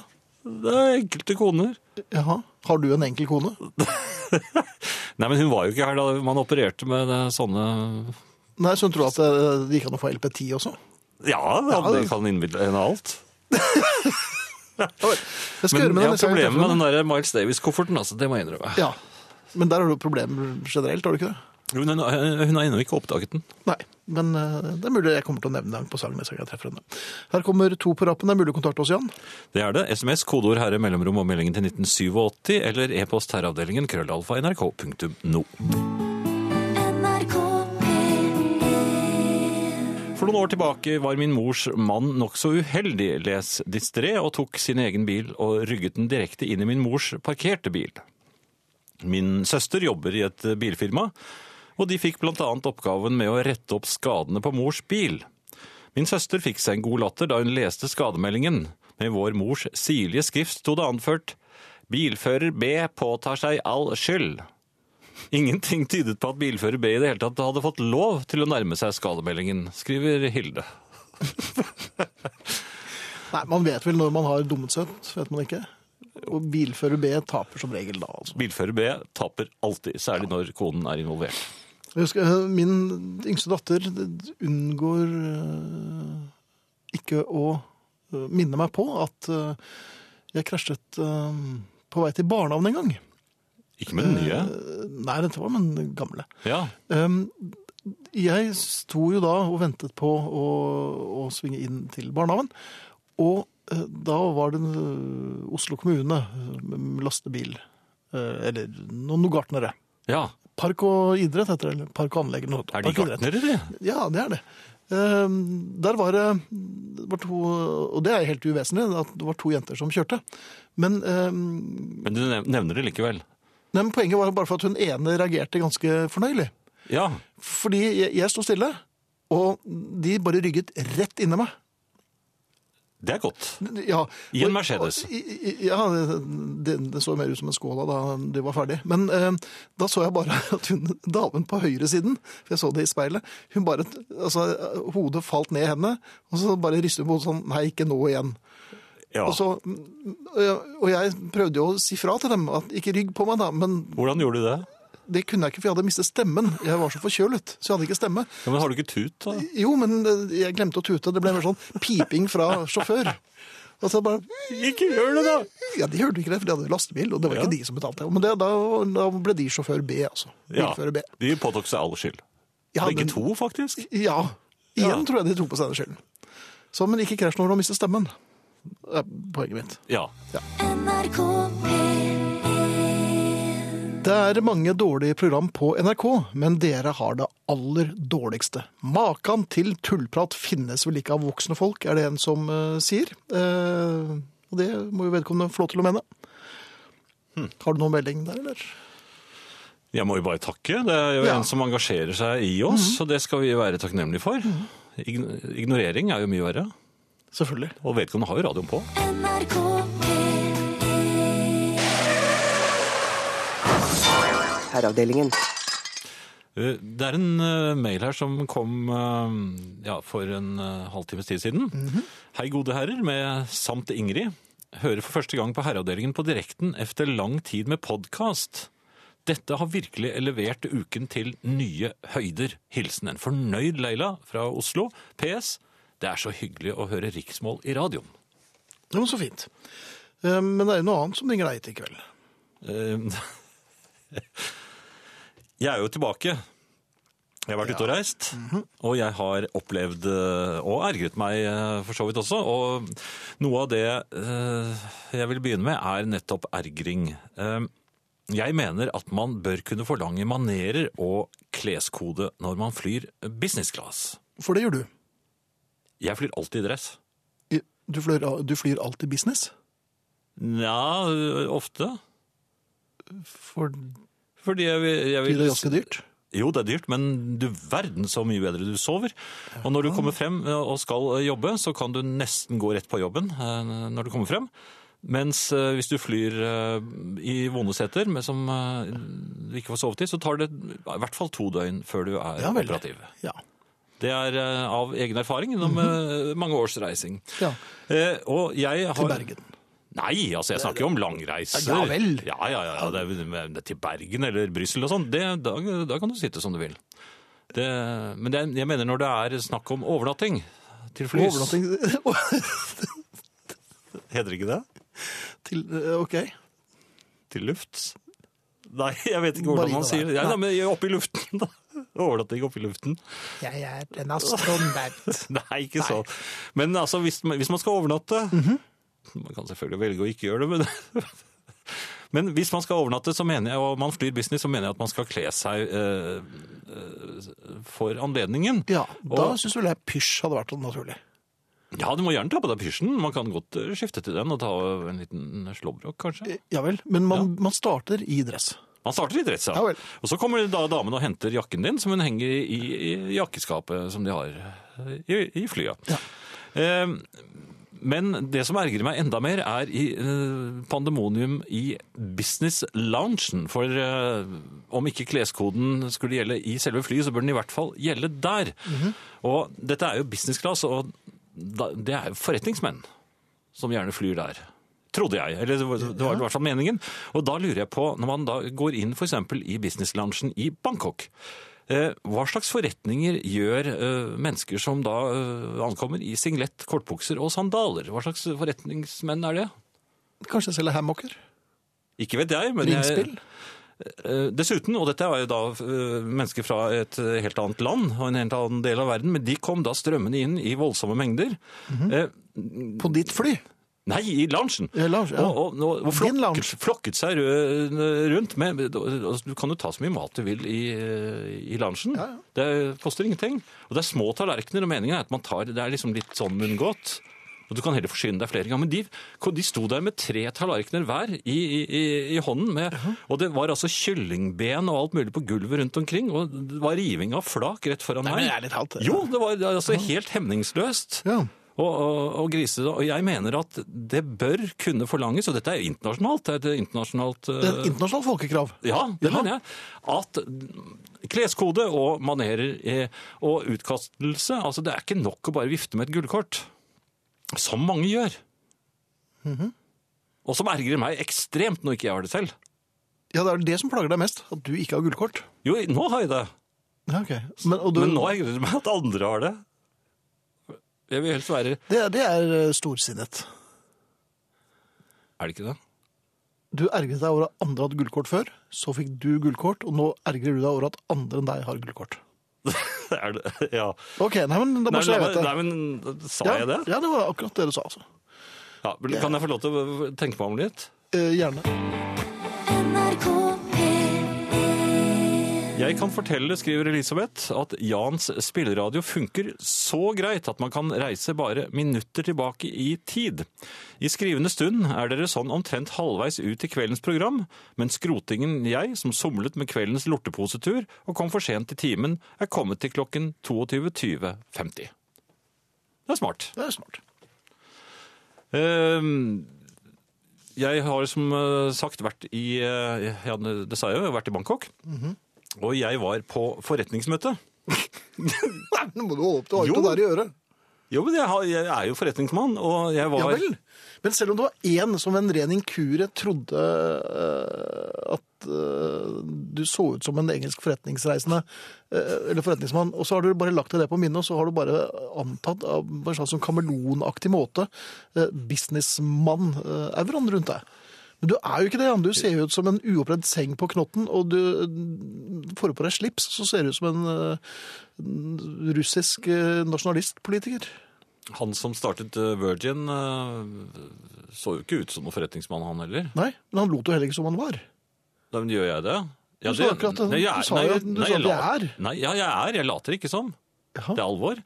S2: Det er enkelte koner.
S1: Jaha. Har du en enkel kone?
S2: Nei, men hun var jo ikke her da man opererte med eh, sånne
S1: Nei, så hun tror at eh, det gikk an å få LP10 også?
S2: Ja,
S1: det-
S2: det kan innbille henne alt.
S1: Jeg skal gjøre med
S2: Men jeg
S1: det
S2: har
S1: neste gang jeg
S2: problemer
S1: treffer
S2: med den
S1: henne.
S2: der Miles Davis-kofferten, altså. Det må jeg innrømme.
S1: Ja. Men der har du problemer generelt, har du ikke det?
S2: Men hun, hun har ennå ikke oppdaget den.
S1: Nei, men eh, det er mulig jeg kommer til å nevne det på sangen. neste gang jeg treffer henne. Her kommer to på rappen. Det er mulig å kontakte oss, Jan.
S2: Det er det. SMS, kodeord herre, mellomrom og meldingen til 1987, eller e-post herreavdelingen krøllalfa nrk.no.
S4: NRK P1
S2: For noen år tilbake var min mors mann nokså uheldig, les distré, og tok sin egen bil og rygget den direkte inn i min mors parkerte bil. Min søster jobber i et bilfirma, og de fikk bl.a. oppgaven med å rette opp skadene på mors bil. Min søster fikk seg en god latter da hun leste skademeldingen. Med vår mors sirlige skrift sto det anført «Bilfører B påtar seg all skyld». Ingenting tydet på at bilfører B i det hele tatt hadde fått lov til å nærme seg skademeldingen, skriver Hilde.
S1: Nei, Man vet vel når man har dummet seg ut, vet man ikke? Og bilfører B taper som regel da, altså.
S2: Bilfører B taper alltid, særlig når konen er involvert.
S1: Jeg husker, eh, min yngste datter unngår eh, ikke å eh, minne meg på at eh, jeg krasjet eh, på vei til barnehavn en gang.
S2: Ikke med den nye.
S1: Eh, Nei, dette var med den gamle.
S2: Ja,
S1: Um, jeg sto jo da og ventet på å, å svinge inn til barnehagen, og eh, da var det en eh, Oslo kommune med lastebil. eh, Eller noen gartnere.
S2: Ja.
S1: Park og idrett heter det. eller Park og anlegg. eller Noe.
S2: Er de
S1: Park og idrett.
S2: gartnere, de?
S1: Ja, det er det. Eh, Der var det det var to Og det er helt uvesentlig at det var to jenter som kjørte. Men eh,
S2: Men du nev- nevner det likevel.
S1: Nei, men Poenget var bare for at hun ene reagerte ganske fornøyelig.
S2: Ja.
S1: Fordi jeg, jeg sto stille, og de bare rygget rett inni meg.
S2: Det er godt.
S1: Ja,
S2: I en
S1: og-
S2: Mercedes.
S1: og- i- i- Ja, det, det så mer ut som en skål da det var ferdig. Men eh, da så jeg bare at hun, damen på høyresiden, for jeg så det i speilet, hun bare, altså hodet falt ned i henne, og så bare ristet hun på hodet sånn, nei, ikke nå igjen.
S2: Ja.
S1: Og, så, og jeg prøvde jo å si fra til dem, at ikke rygg på meg da, men
S2: Hvordan gjorde du det?
S1: Det kunne jeg ikke, for jeg hadde mistet stemmen. Jeg var så forkjølet, så jeg hadde ikke stemme.
S2: Ja, men har du ikke tut, da?
S1: Jo, men jeg glemte å tute. Det ble mer sånn piping fra sjåfør. Og så bare
S2: Ikke gjør det, da!
S1: Ja, de hørte ikke det, for de hadde lastebil, og det var
S2: Ja.
S1: ikke de som betalte. Men det, da, da ble de sjåfør B, altså.
S2: Ja,
S1: Bilfører B.
S2: De påtok seg all skyld.
S1: Ja,
S2: Begge
S1: men-
S2: to, faktisk.
S1: Ja. Igjen
S2: Ja.
S1: tror jeg de tok på seg den skylden. Så, men ikke krasj når du har mistet stemmen. Det er poenget mitt.
S2: Ja.
S4: NRK P1
S1: Det er mange dårlige program på NRK, men dere har det aller dårligste. Makan til tullprat finnes vel ikke av voksne folk, er det en som eh, sier. Eh, og det må jo vedkommende få lov til å mene. Har du noen melding der, eller?
S2: Jeg må jo bare takke. Det er jo
S1: Ja.
S2: en som engasjerer seg i oss, og det skal vi være takknemlige for. Ign- Ignorering er jo mye verre,
S1: Selvfølgelig.
S2: og vedkommende har jo radioen på.
S4: NRK P1
S6: Herreavdelingen.
S2: Eh, Det er en eh, mail her som kom eh, ja, for en eh, halvtimes tid siden. Hei, gode herrer, med samt Ingrid. Hører for første gang på herreavdelingen på direkten efter lang tid med podkast. Dette har virkelig elevert uken til nye høyder. Hilsen en fornøyd Leila fra Oslo. PS. Det er så hyggelig å høre riksmål i radioen.
S1: Jo, men så fint. Eh, men det er jo noe annet som ringer deg til i kveld.
S2: Eh, Jeg er jo tilbake. Jeg har vært ute og reist, og jeg har opplevd eh, og ergret meg eh, for så vidt også. Og noe av det eh, jeg vil begynne med, er nettopp ergring. Eh, Jeg mener at man bør kunne forlange manerer og kleskode når man flyr business class.
S1: For det gjør du.
S2: Jeg flyr alltid i dress.
S1: I- Du flyr, du flyr alltid business.
S2: Nja, eh, ofte.
S1: Fordi
S2: Fordi jeg vil, jeg vil
S1: det er ganske dyrt.
S2: Jo, det er dyrt, men du verden så mye bedre du sover. Og når du kommer frem eh, og skal eh, jobbe, så kan du nesten gå rett på jobben eh, når du kommer frem. Mens eh, hvis du flyr eh, i vonde seter men som eh, du ikke får sovet i, så tar det i hvert fall to døgn før du er
S1: Ja, vel.
S2: operativ.
S1: Ja.
S2: Det er eh, av egen erfaring
S1: Mhm.
S2: gjennom eh, mange års reising.
S1: ja.
S2: Eh, og jeg har...
S1: Til Bergen.
S2: Nei, altså jeg snakker jo om langreiser.
S1: Ja vel.
S2: Ja, ja, ja, det er, men det er til Bergen eller Bryssel og sånn. det- Da, da kan du sitte som du vil. Det, men det, er- jeg mener når det er snakk om overnatting til flys
S1: Overnatting
S2: Heter ikke det?
S1: til eh, OK.
S2: Til lufts? Nei, jeg vet ikke hvordan
S1: Marina
S2: man sier det.
S1: der.
S2: Ja, nei, men oppe i luften, da. Overnatting oppe i luften.
S1: Jeg er en astronaut.
S2: Nei, ikke sånn. Men altså, hvis, man- hvis man skal overnatte Man kan selvfølgelig velge å ikke gjøre det, men Men hvis man skal overnatte, så mener jeg, og man flyr business, så mener jeg at man skal kle seg eh, eh, for anledningen.
S1: Ja, da
S2: Og-
S1: syns vel jeg pysj hadde vært naturlig.
S2: Ja, du må gjerne ta på deg pysjen. Man kan godt eh, skifte til den og ta en liten slåbrok, kanskje.
S1: Eh, Ja vel, men man, man starter i dress.
S2: Man starter i dressa.
S1: Ja vel.
S2: og så kommer da damen og henter jakken din, som hun henger i, i jakkeskapet som de har eh, i, i flyet. Eh, men det som ergrer meg enda mer, er i eh, pandemonium i business-loungen. For eh, om ikke kleskoden skulle gjelde i selve flyet, så bør den i hvert fall gjelde der.
S1: Mhm.
S2: Og dette er jo business class, og da, det er jo forretningsmenn som gjerne flyr der. Trodde jeg, eller det var, det var i hvert fall meningen. Og da lurer jeg på, når man da går inn for eksempel i business-loungen i Bangkok, eh, hva slags forretninger gjør eh, mennesker som da eh, ankommer i singlett, kortbukser og sandaler? Hva slags forretningsmenn er det?
S1: Kanskje selge hammocker?
S2: Ikke vet jeg, men jeg,
S1: Ringspill?
S2: Eh, Dessuten, og dette er jo da eh, mennesker fra et eh, helt annet land og en helt annen del av verden, men de kom da strømmende inn i voldsomme mengder. Eh,
S1: På ditt fly?
S2: Nei, i loungen!
S1: Ja, lounge, ja.
S2: Og, og, og, og
S1: Din lounge.
S2: flokket, flokket seg rø- rundt med altså, Du kan jo ta så mye mat du vil i, eh, i loungen. Det koster ingenting. Og det er små tallerkener, og meningen er at man tar Det er liksom litt sånn munngåt. Og du kan heller forsyne deg flere ganger. Men de, de sto der med tre tallerkener hver i, i, i- i hånden. Med, og det var altså kyllingben og alt mulig på gulvet rundt omkring. Og det var riving av flak rett foran meg.
S1: men det er litt halvt, det.
S2: Jo, det var altså helt hemningsløst.
S1: Ja.
S2: Og, og, og grise, og jeg mener at det bør kunne forlanges, og dette er jo internasjonalt, det er et internasjonalt
S1: Det er
S2: eh,
S1: et internasjonalt folkekrav.
S2: ja, det
S1: Ja.
S2: mener jeg. At kleskode og manerer eh, og utkastelse altså Det er ikke nok å bare vifte med et gullkort. Som mange gjør.
S1: Mhm.
S2: Og som ergrer meg ekstremt når ikke jeg har det selv.
S1: Ja, det er det som plager deg mest, at du ikke har gullkort.
S2: Jo, nå har jeg det,
S1: Ja, ok. Men, og du,
S2: men nå ergrer det meg at andre har det. Jeg vil helst være
S1: det, er- det er eh, storsinnet.
S2: Er det ikke det?
S1: Du ergret deg over at andre hadde gullkort før, så fikk du gullkort, og nå ergrer du deg over at andre enn deg har gullkort.
S2: er det? Ja.
S1: Ok, nei, men da må
S2: Nei,
S1: jeg
S2: nei,
S1: vite.
S2: nei, men sa
S1: ja,
S2: jeg det?
S1: Ja, det var akkurat det du sa, altså.
S2: Ja, vel, kan jeg få lov til å tenke meg om litt?
S1: Eh, gjerne.
S4: NRK P1
S2: Jeg kan fortelle, skriver Elisabeth, at Jans spilleradio funker så greit at man kan reise bare minutter tilbake i tid. I skrivende stund er dere sånn omtrent halvveis ut i kveldens program, men skrotingen jeg, som somlet med kveldens lorteposetur og kom for sent til timen, er kommet til klokken 22.20.50. Det er smart.
S1: Det er smart.
S2: Ehm, Jeg har som eh, sagt vært i eh, Ja, det sa jeg jo, jeg har vært i Bangkok.
S1: Mhm.
S2: Og jeg var på forretningsmøte.
S1: Nei, nå må du holde opp. Du har
S2: Jo.
S1: ikke noe der i øret.
S2: Jo, men jeg, har, jeg er jo forretningsmann, og jeg var
S1: Ja vel. Men selv om det var én som ved en ren inkurie trodde eh, at eh, du så ut som en engelsk forretningsreisende, eh, eller forretningsmann, og så har du bare lagt deg det på minnet, og så har du bare antatt av på en slags sånn kameleonaktig måte eh, businessmann-euroen rundt deg. Men du er jo ikke det. Jan. Du ser jo ut som en uoppredd seng på knotten, og du eh, får du på deg slips, så ser du ut som en eh, russisk eh, nasjonalistpolitiker.
S2: Han som startet eh, Virgin, eh, så jo ikke ut som noen forretningsmann, han heller.
S1: Nei, men han lot jo heller ikke som han var.
S2: Da men gjør jeg det. Ja,
S1: Du sa akkurat det.
S2: nei, jeg-
S1: Du sa
S2: nei,
S1: jo at- du
S2: nei,
S1: sa at jeg
S2: lat-
S1: er.
S2: Nei, ja, jeg er. Jeg later ikke som.
S1: Jaha.
S2: Det er alvor.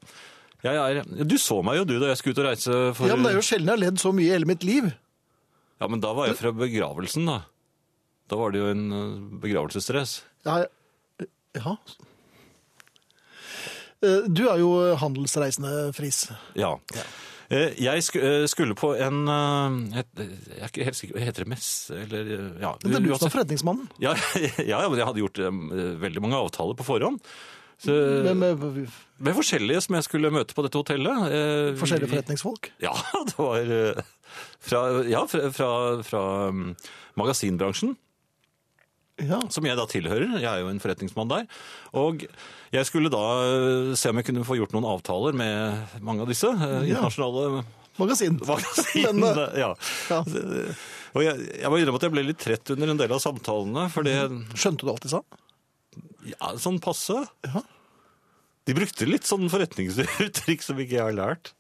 S2: Jeg er, du så meg jo du da jeg skulle ut og reise for
S1: Ja, men det er jo sjelden jeg har ledd så mye i hele mitt liv.
S2: Ja, men da var jeg fra begravelsen, da. Da var det jo en eh, begravelsesstress.
S1: Ja, jeg- ja. Eh, Du er jo handelsreisende, Friis.
S2: Ja. Eh, Jeg sku- eh, skulle på en eh, et- Jeg er ikke helt sikker Heter det messe, eller eh, ja.
S1: Men det er du som er
S2: uansett.
S1: forretningsmannen.
S2: ja, ja, ja, men jeg hadde gjort eh, veldig mange avtaler på forhånd. Så,
S1: Med, med
S2: med forskjellige som jeg skulle møte på dette hotellet. eh,
S1: forskjellige
S2: vi-
S1: forretningsfolk.
S2: Ja, det var eh, fra, ja, fra, fra, fra mm, magasinbransjen.
S1: Ja.
S2: som jeg da tilhører. Jeg er jo en forretningsmann der. Og jeg skulle da eh, se om jeg kunne få gjort noen avtaler med mange av disse eh,
S1: Ja.
S2: internasjonale
S1: Magasin.
S2: magasinene.
S1: Men, eh,
S2: ja.
S1: Ja.
S2: Og jeg, jeg må innrømme at jeg ble litt trett under en del av samtalene, for det
S1: Skjønte du alt de sa?
S2: ja, sånn passe.
S1: Ja.
S2: De brukte litt sånn forretningsuttrykk som ikke jeg har lært.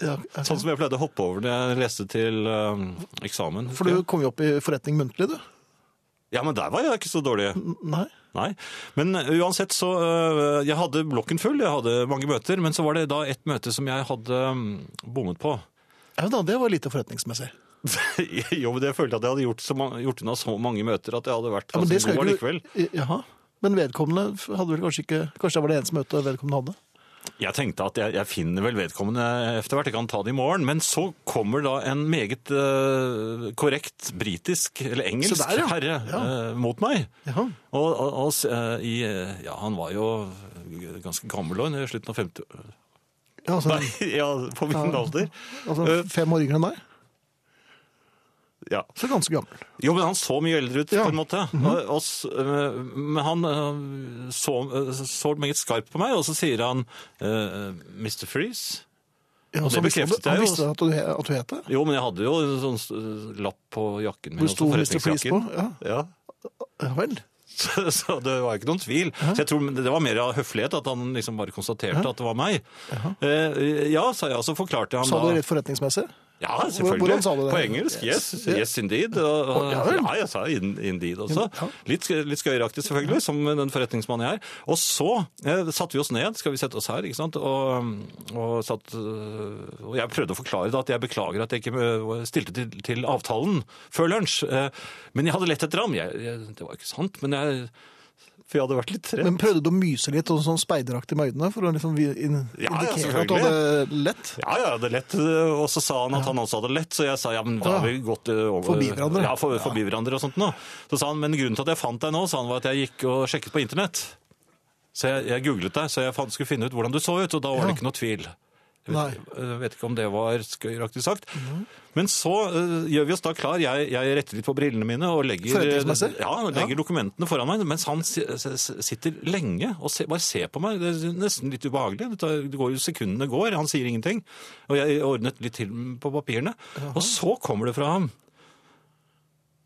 S1: Ja,
S2: Sånn som jeg pleide å hoppe over når jeg leste til eh, eksamen.
S1: For du kom jo opp i forretning muntlig, du.
S2: Ja, men der var jeg ikke så dårlig.
S1: N- Nei.
S2: Nei, men eh, uansett så øh, Jeg hadde blokken full, jeg hadde mange møter, men så var det da et møte som jeg hadde mm, bommet på.
S1: Ja, da, det var lite forretningsmessig.
S2: jo, men jeg følte at jeg hadde gjort, så, ma- gjort unna så mange møter at jeg hadde vært
S1: Ja, men Altså,
S2: ganske
S1: det skal
S2: god
S1: jo ikke
S2: likevel.
S1: Jaha. Men vedkommende f- hadde vel kanskje ikke Kanskje det var det eneste møtet vedkommende hadde?
S2: Jeg tenkte at jeg, jeg finner vel vedkommende etter hvert, jeg kan ta det i morgen. Men så kommer da en meget øh, korrekt britisk, eller engelsk,
S1: Se der, ja.
S2: herre
S1: Ja.
S2: øh, mot meg.
S1: Jaha.
S2: Og, og, og s- øh, i, øh, ja, han var jo ganske gammel og i slutten av 50
S1: Ja, altså,
S2: Nei, ja, på min
S1: Ja.
S2: alder.
S1: altså fem år yngre enn deg?
S2: Ja.
S1: Så ganske gammel.
S2: Jo, men han så mye eldre ut,
S1: Ja. Mhm.
S2: på en måte. Og- og s- øh, men han øh, så, øh, så meget skarpt på meg, og så sier han øh, Mr. Freeze.
S1: Ja,
S2: Og
S1: så
S2: det
S1: visste han-
S2: bekreftet jeg
S1: Han
S2: jo.
S1: visste at du, at du het det?
S2: Jo, men jeg hadde jo en sånn øh, lapp på jakken min.
S1: Hvor sto Mr. Freeze på?
S2: Ja.
S1: Ja. Ja vel.
S2: Så, så det var ikke noen tvil. Så jeg tror Det var mer av høflighet at han liksom bare konstaterte at det var meg. Eh, ja, sa jeg, og så forklarte han
S1: Sa
S2: da
S1: du det rett forretningsmessig?
S2: Ja, selvfølgelig.
S1: hvordan sa du det?
S2: På engelsk. Yes, yes indeed. Og, og,
S1: Ja vel.
S2: ja, jeg sa in, indeed også.
S1: Ja.
S2: Litt, sk- litt skøyeraktig, selvfølgelig, som den forretningsmannen jeg er. Og så eh, satte vi oss ned, skal vi sette oss her, ikke sant? Og, og, satt, øh, og jeg prøvde å forklare da, at jeg beklager at jeg ikke øh, stilte til, til avtalen før lunsj. Eh, Men jeg hadde lett etter ham. Jeg, jeg, det var ikke sant, men jeg For jeg hadde vært litt redd.
S1: Men prøvde du å myse litt og sånn speideraktig med øynene for å liksom vi- in-
S2: Ja,
S1: indikere at
S2: ja,
S1: du
S2: selvfølgelig.
S1: hadde lett?
S2: Ja, ja, det er lett. Og så sa han at han også hadde lett, så jeg sa ja, men da har vi gått eh, over
S1: Ah, Forbi hverandre.
S2: Ja, for, forbi hverandre og sånt nå. Så sa han, men grunnen til at jeg fant deg nå, sa han, var at jeg gikk og sjekket på internett. Så jeg, jeg googlet deg, så jeg fant, skulle finne ut hvordan du så ut, og da var
S1: Ja.
S2: det ikke noe tvil. Jeg
S1: Nei. Mhm.
S2: vet, jeg vet ikke om det var skøyeraktig sagt. Men så eh, gjør vi oss da klar. Jeg, jeg retter litt på brillene mine og legger,
S1: Forretningsmessig?
S2: ja, legger dokumentene foran meg, mens han si- s- s- sitter lenge og se, bare ser på meg. Det er nesten litt ubehagelig. Det tar- det går, jo- sekundene går, han sier ingenting. Og jeg ordnet litt til på papirene. Og så kommer det fra ham.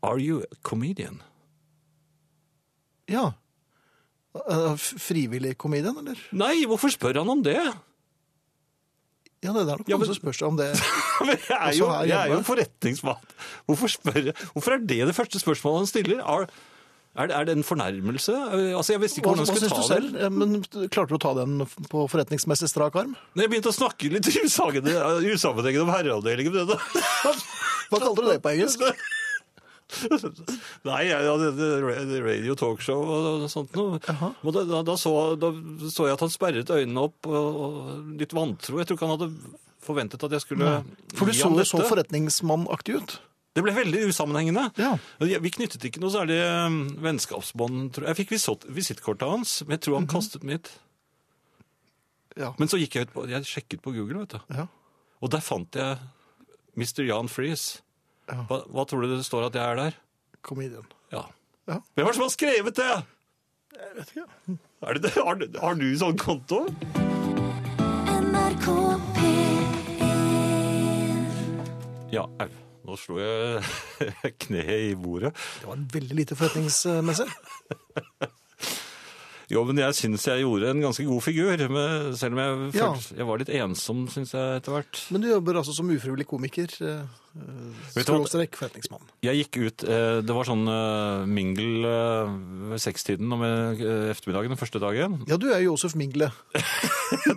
S2: Are you a comedian?
S1: Ja. Eh, f- Frivillig komedien, eller?
S2: Nei, hvorfor spør han om det?
S1: Ja, det er nok
S2: Ja,
S1: noen
S2: men-
S1: som spør seg om det.
S2: Men jeg er
S1: Også
S2: jo,
S1: her
S2: jeg er jo
S1: hjemme.
S2: forretningsmann. Hvorfor, spør, hvorfor er det det første spørsmålet han stiller? Er, er, det, er det en fornærmelse? Altså, Jeg visste ikke
S1: Hva,
S2: hvordan
S1: hva
S2: jeg
S1: syns du
S2: skulle ta det.
S1: selv? Eh, Men klarte du å ta den på forretningsmessig strak arm?
S2: Når jeg begynte å snakke litt usagende- usammenhengende om herreavdelingen det da-
S1: Hva kalte du det på engelsk?
S2: Nei, jeg hadde det- radio talkshow og sånt noe. Og da, da, da, så, da så jeg at han sperret øynene opp, og, og litt vantro. Jeg tror ikke han hadde forventet at jeg skulle
S1: For du
S2: gi
S1: så
S2: ham
S1: jo så
S2: dette.
S1: forretningsmannaktig ut.
S2: Det ble veldig usammenhengende.
S1: Ja.
S2: Vi knyttet ikke noe særlig eh, vennskapsbånd. tror Jeg Jeg fikk visit- visittkortet hans, men jeg tror han kastet mitt.
S1: Mhm. Ja.
S2: Men så gikk jeg ut på, jeg sjekket på Google, vet du.
S1: Ja.
S2: Og der fant jeg Mr. Jan Friis. Hva, hva tror du det står at jeg er der?
S1: Komedien.
S2: Ja.
S1: Ja.
S2: Hvem er det som har skrevet det? Er det det? Har, du- har du sånn konto?
S4: NRK P1
S2: Ja, au. Nå slo jeg kneet i bordet.
S1: Det var veldig lite forretningsmessig.
S2: Jo, men jeg syns jeg gjorde en ganske god figur, men selv om jeg,
S1: Ja.
S2: følte, jeg var litt ensom, syns jeg, etter hvert.
S1: Men du jobber altså som ufrivillig komiker. eh,
S2: Vet du hva-
S1: Skråstrek forretningsmann.
S2: Jeg gikk ut eh, Det var sånn eh, mingel eh, ved sekstiden om eh, ettermiddagen den første dagen.
S1: Ja, du er jo Josef Mingle.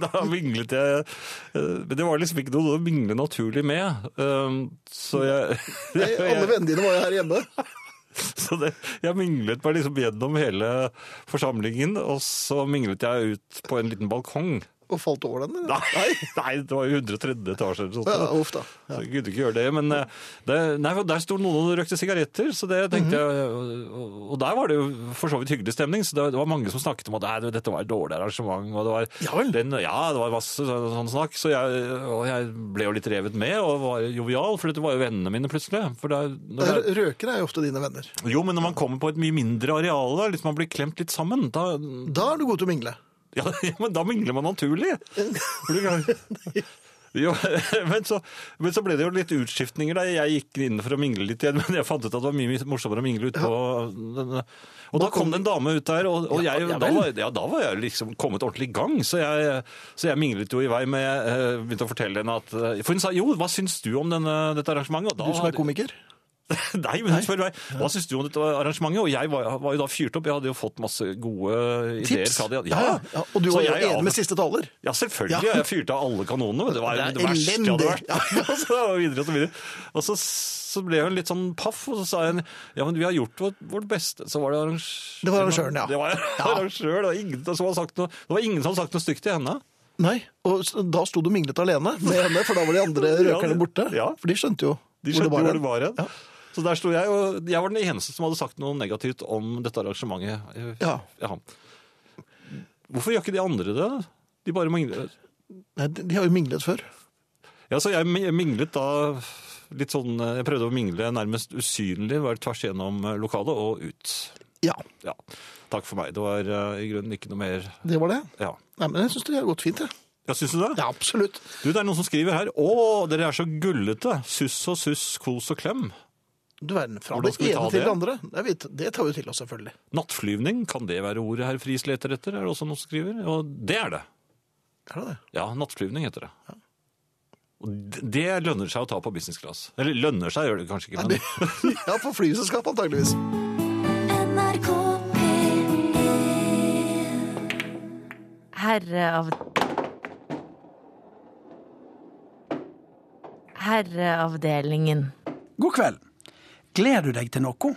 S2: da minglet jeg eh, Men det var liksom ikke noe å mingle naturlig med. eh, Så jeg,
S1: Nei, Alle vennene dine var jo her hjemme.
S2: så det, jeg minglet meg liksom gjennom hele forsamlingen, og så minglet jeg ut på en liten balkong.
S1: Og falt over den? eller?
S2: Nei, nei det var jo 130 etasjer. eller sånt.
S1: Ja, uff da.
S2: Så jeg kunne ikke gjøre det, men eh, det, nei, for der sto noen og røkte sigaretter, så det tenkte jeg, og- og der var det jo for så vidt hyggelig stemning, så det, det var mange som snakket om at nei, dette var et dårlig arrangement, og det var,
S1: Ja vel.
S2: den, ja, det var masse sånn, sånn snakk, så jeg, og jeg ble jo litt revet med, og var jovial, for dette var jo vennene mine plutselig. For da- når jeg-
S1: Rø- Eh, Røkere er jo ofte dine venner.
S2: jo, men når man kommer på et mye mindre areal, da, liksom man blir klemt litt sammen, da,
S1: Da er du god til å mingle.
S2: ja, men da mingler man naturlig. For du kan- Jo, men, så, men så ble det jo litt utskiftninger. da. Jeg gikk inn for å mingle litt igjen, men jeg fant ut at det var mye morsommere å mingle ut på den- Og da kom det en dame ut der, og, og jeg,
S1: Ja, ja
S2: da,
S1: vel.
S2: var, ja, da var jeg liksom kommet ordentlig i gang. Så jeg, så jeg minglet jo i vei, men jeg eh, begynte å fortelle henne at eh, For hun sa jo, hva syns du om denne, dette arrangementet? Og da
S1: Du som er
S2: hadde-
S1: komiker.
S2: Nei, men hun spør meg, hva syns du om dette arrangementet? Og jeg var, var jo da fyrt opp, jeg hadde jo fått masse gode ideer.
S1: Tips.
S2: fra
S1: Ja,
S2: de- Ja,
S1: ja, og du
S2: Så
S1: var jo
S2: jeg altså- av-
S1: enig med siste taler.
S2: ja, selvfølgelig.
S1: Ja.
S2: Jeg fyrte av alle kanonene. men Det var
S1: Det
S2: det,
S1: er
S2: verste jeg hadde
S1: elendig.
S2: vært. og så, videre, og så, videre. Og så, så ble hun litt sånn paff, og så sa hun ja, men vi har gjort vårt, vårt beste. Så var det arrangøren.
S1: Det var arrangøren, ja.
S2: Det var arrangør, det var ingen som hadde sagt noe, det var ingen som hadde sagt noe stygt til henne.
S1: Nei, og s- da sto du minglet alene med henne, for da var de andre røkerne
S2: det-
S1: borte.
S2: ja.
S1: For de skjønte jo
S2: De skjønte jo hvor det
S1: hen.
S2: var hen. Så der sto jeg, og jeg var den eneste som hadde sagt noe negativt om dette arrangementet.
S1: Ja.
S2: Hvorfor gjør ikke de andre det? De bare mingler.
S1: Nei, de de har jo minglet før.
S2: Ja, så jeg mi- minglet da litt sånn eh, Jeg prøvde å mingle nærmest usynlig, være tvers gjennom eh, lokalet og ut.
S1: Ja,
S2: Ja. Takk for meg. Det var eh, i grunnen ikke noe mer
S1: det var det.
S2: Ja.
S1: Nei, men jeg syns det har gått fint, jeg.
S2: Ja, Syns du det?
S1: Ja, absolutt.
S2: Du, Det er noen som skriver her. Å, dere er så gullete! Suss og suss, kos og klem.
S1: Du verden. Fra
S2: Hvordan
S1: det
S2: skal vi ta
S1: ene til
S2: det?
S1: det andre. Jeg vet, det tar vi til oss, selvfølgelig.
S2: Nattflyvning, kan det være ordet herr Friis leter etter? Er det også noen som skriver? Og det er det.
S1: Er det det?
S2: Ja, nattflyvning heter det. Og d- det lønner seg å ta på business class. Eller lønner seg gjør det kanskje ikke, men
S1: Ja, for flyselskap antageligvis.
S4: NRK P1
S7: Herre av Herreavdelingen.
S8: God kveld. Gleder du deg til noe?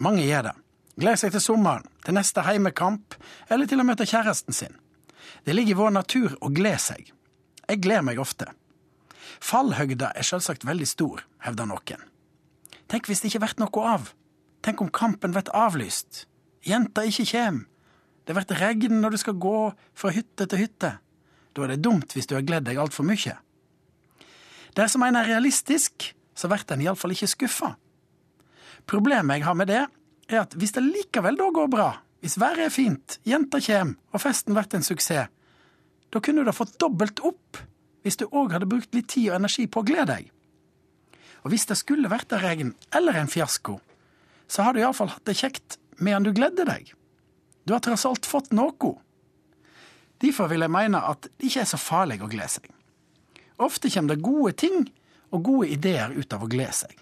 S8: Mange gjør det. Gleder seg til sommeren, til neste heimekamp, eller til å møte kjæresten sin. Det ligger i vår natur å glede seg. Jeg gleder meg ofte. Fallhøgda er selvsagt veldig stor, hevder noen. Tenk hvis det ikke blir noe av? Tenk om kampen blir avlyst? Jenta ikke kjem? Det blir regn når du skal gå fra hytte til hytte. Da er det dumt hvis du har gledd deg altfor mye. Dersom en er realistisk, så blir en iallfall ikke skuffa. Problemet jeg har med det, er at hvis det likevel da går bra, hvis været er fint, jenta kjem, og festen blir en suksess, da kunne du da fått dobbelt opp hvis du òg hadde brukt litt tid og energi på å glede deg. Og hvis det skulle vært en regn eller en fiasko, så har du iallfall hatt det kjekt medan du gledde deg. Du har tross alt fått noe. Derfor vil jeg mene at det ikke er så farlig å glede seg. Ofte kommer det gode ting og gode ideer ut av å glede seg.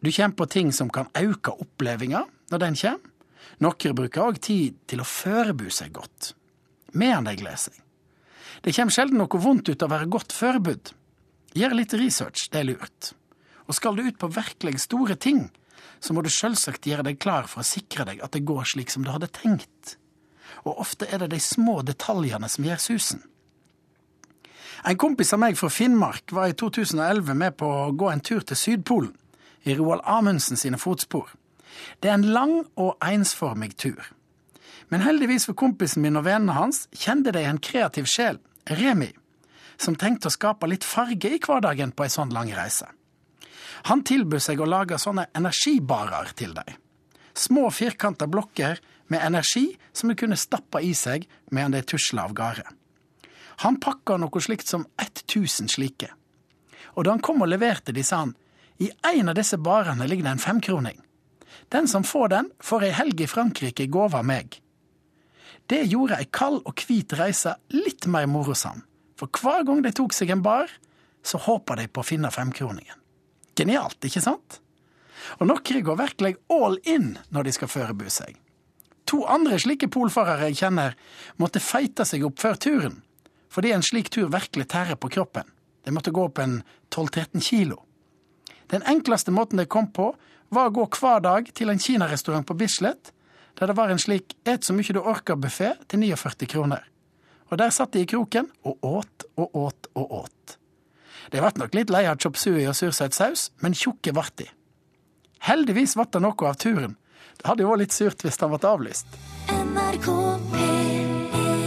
S8: Du kommer på ting som kan øke opplevelsen når den kommer. Noen bruker òg tid til å forberede seg godt, medan de gleder seg. Det kommer sjelden noe vondt ut av å være godt forberedt. Gjør litt research, det er lurt. Og skal du ut på virkelig store ting, så må du selvsagt gjøre deg klar for å sikre deg at det går slik som du hadde tenkt. Og ofte er det de små detaljene som gjør susen. En kompis av meg fra Finnmark var i 2011 med på å gå en tur til Sydpolen, i Roald Amundsen sine fotspor. Det er en lang og ensformig tur. Men heldigvis for kompisen min og vennene hans kjente de en kreativ sjel, Remi, som tenkte å skape litt farge i hverdagen på ei sånn lang reise. Han tilbød seg å lage sånne energibarer til dem. Små firkanta blokker med energi som du kunne stappe i seg medan de tusla av gårde. Han pakka noe slikt som 1000 slike. Og da han kom og leverte de, sa han i en av disse barene ligger det en femkroning. Den som får den, får ei helg i Frankrike i gave av meg. Det gjorde ei kald og hvit reise litt mer morosam, for hver gang de tok seg en bar, så håpa de på å finne femkroningen. Genialt, ikke sant? Og noen går virkelig all in når de skal forberede seg. To andre slike polfarere jeg kjenner, måtte feite seg opp før turen, fordi en slik tur virkelig tærer på kroppen. De måtte gå opp en 12-13 kilo. Den enkleste måten de kom på, var å gå hver dag til en kinarestaurant på Bislett, der det var en slik et så mye du orker-buffé til 49 kroner. Og der satt de i kroken og åt og åt og åt. De ble nok litt lei av chop suey og sursøt saus, men tjukke ble de. Heldigvis ble det noe av turen. Det hadde jo vært litt surt hvis den ble avlyst.
S4: NRK P1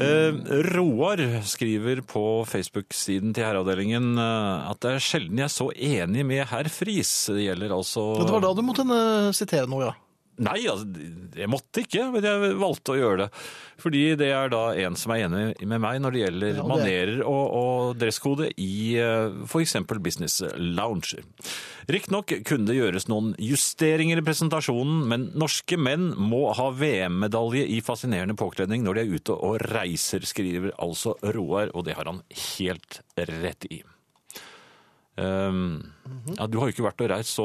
S2: Eh, Roar skriver på Facebook-siden til herreavdelingen eh, at det er sjelden jeg er så enig med herr Friis. Det gjelder altså
S1: Og det var da du måtte eh, sitere noe, ja.
S2: Nei, altså, jeg måtte ikke, men jeg valgte å gjøre det. Fordi det er da en som er enig med meg når det gjelder
S1: Ja, og det
S2: manerer og, og dresskode i f.eks. business lounge. Riktignok kunne det gjøres noen justeringer i presentasjonen, men norske menn må ha VM-medalje i fascinerende påkledning når de er ute og reiser, skriver altså Roar, og det har han helt rett i. Um, ja, du har jo ikke vært og reist så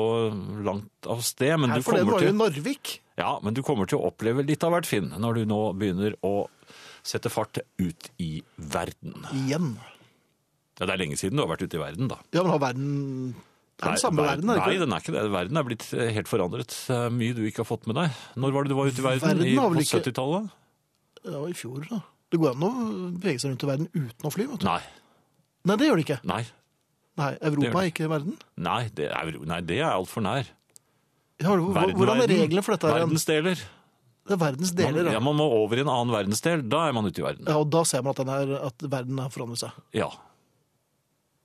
S2: langt av sted, men
S1: Her
S2: du
S1: for det
S2: kommer
S1: var
S2: til
S1: jo Narvik.
S2: ja, men du kommer til å oppleve litt av hvert, Finn, når du nå begynner å sette fart ut i verden.
S1: Igjen.
S2: Ja, det er lenge siden du har vært ute i verden, da.
S1: Ja, men har verden Det er den samme verden, er det
S2: Nei,
S1: ikke?
S2: den er ikke det. Verden er blitt eh, helt forandret. Det er Mye du ikke har fått med deg. Når var det du var ute i verden?
S1: Verden
S2: I,
S1: har vel
S2: på
S1: ikke-
S2: 70-tallet?
S1: Det var i fjor, da. Det går an å bevege seg rundt i verden uten å fly, vet du.
S2: Nei.
S1: Nei, det gjør det ikke.
S2: Nei.
S1: Nei,
S2: Det gjør
S1: Europa er
S2: det.
S1: ikke verden.
S2: Nei, det er, nei, det er altfor nær.
S1: Ja, hvor-
S2: Verden,
S1: hvordan er
S2: verden.
S1: reglene for dette? her?
S2: Verdensdeler.
S1: Det er verdens
S2: Man,
S1: deler,
S2: ja,
S1: ja.
S2: man må over i en annen verdensdel. Da er man ute i verden.
S1: ja. Og da ser man at, den er, at verden har forandret seg.
S2: Ja.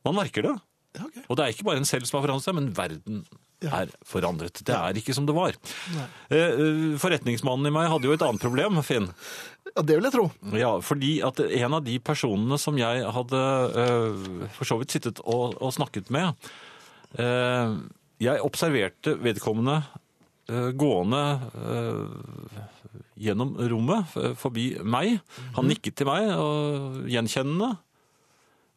S2: Man merker det.
S1: Ja, ok.
S2: Og det er ikke bare en selv som har forandret seg, men verden
S1: Ja.
S2: er forandret. Det er ikke som det var.
S1: Nei.
S2: Eh, eh, Forretningsmannen i meg hadde jo et annet problem, Finn.
S1: Ja, det vil jeg tro.
S2: Ja, fordi at en av de personene som jeg hadde eh, for så vidt sittet og, og snakket med, eh, jeg observerte vedkommende eh, gående eh, gjennom
S1: Mhm.
S2: rommet eh, forbi meg. Han nikket til meg, og, gjenkjennende.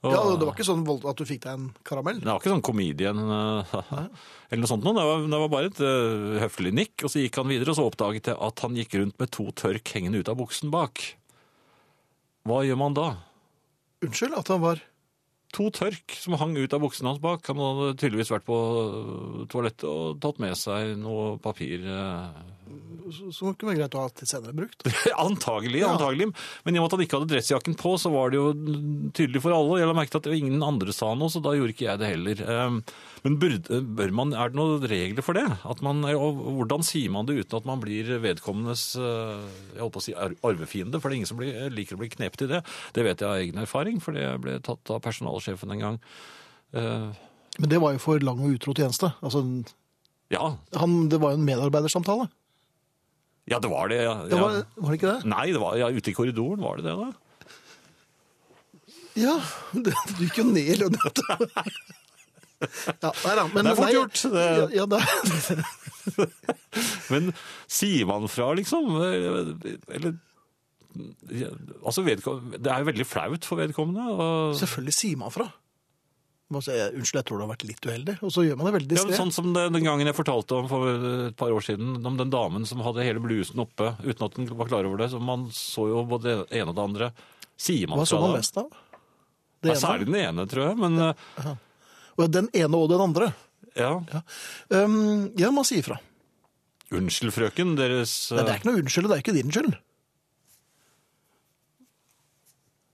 S1: Ja, det var ikke sånn vold- at du fikk deg en karamell.
S2: Det var ikke sånn comedian eh, eller noe sånt. noe. Det var, det var bare et eh, høflig nikk, og så gikk han videre, og så oppdaget jeg at han gikk rundt med to tørk hengende ut av buksen bak. Hva gjør man da?
S1: Unnskyld at han var
S2: To tørk som hang ut av buksene hans bak. Han hadde tydeligvis vært på eh, toalettet og tatt med seg noe papir. eh,
S1: Som kunne være greit å ha til senere brukt.
S2: Antagelig, antagelig. Men i og med at han ikke hadde dressjakken på, så var det jo tydelig for alle. Jeg la merke til at ingen andre sa noe, så da gjorde ikke jeg det heller. Ehm, Men burde, bør man, er det noen regler for det? At man, og hvordan sier man det uten at man blir vedkommendes eh, jeg holdt på å si ar- arvefiende? For det er ingen som blir, liker å bli knepet i det. Det vet jeg av egen erfaring, for det ble tatt av personalsjefen en gang. Eh,
S1: Men det var jo for lang og utro tjeneste. Altså,
S2: Ja,
S1: han, det var jo en medarbeidersamtale.
S2: ja det var det. Ja.
S1: Det var, var det ikke det?
S2: Nei, det var, ja, ute i korridoren var det det, da.
S1: Ja, det, du gikk jo ned i lønn. vet du. Ja, nei, da, men,
S2: Det er fort
S1: nei,
S2: gjort, det-
S1: Ja, ja, det,
S2: Men sier man fra, liksom? Eller ja, Altså, vedkom- det er jo veldig flaut for vedkommende. Og,
S1: selvfølgelig sier man fra. Man sier, unnskyld, jeg tror du har vært litt uheldig. Og så gjør man det veldig
S2: ja,
S1: diskré.
S2: men sånn som den, den gangen jeg fortalte om for et par år siden, om den damen som hadde hele blusen oppe uten at den var klar over det. Så man så jo både det ene og det andre. Sier man
S1: Hva så
S2: fra
S1: man
S2: da?
S1: mest av?
S2: Ja,
S1: Det ene.
S2: særlig den ene, tror jeg. Men eh,
S1: Og den ene og den andre.
S2: ja,
S1: Um, ja, man sier fra.
S2: unnskyld frøken, deres
S1: Nei, det
S2: eh,
S1: er ikke noe unnskyld, det er ikke din skyld.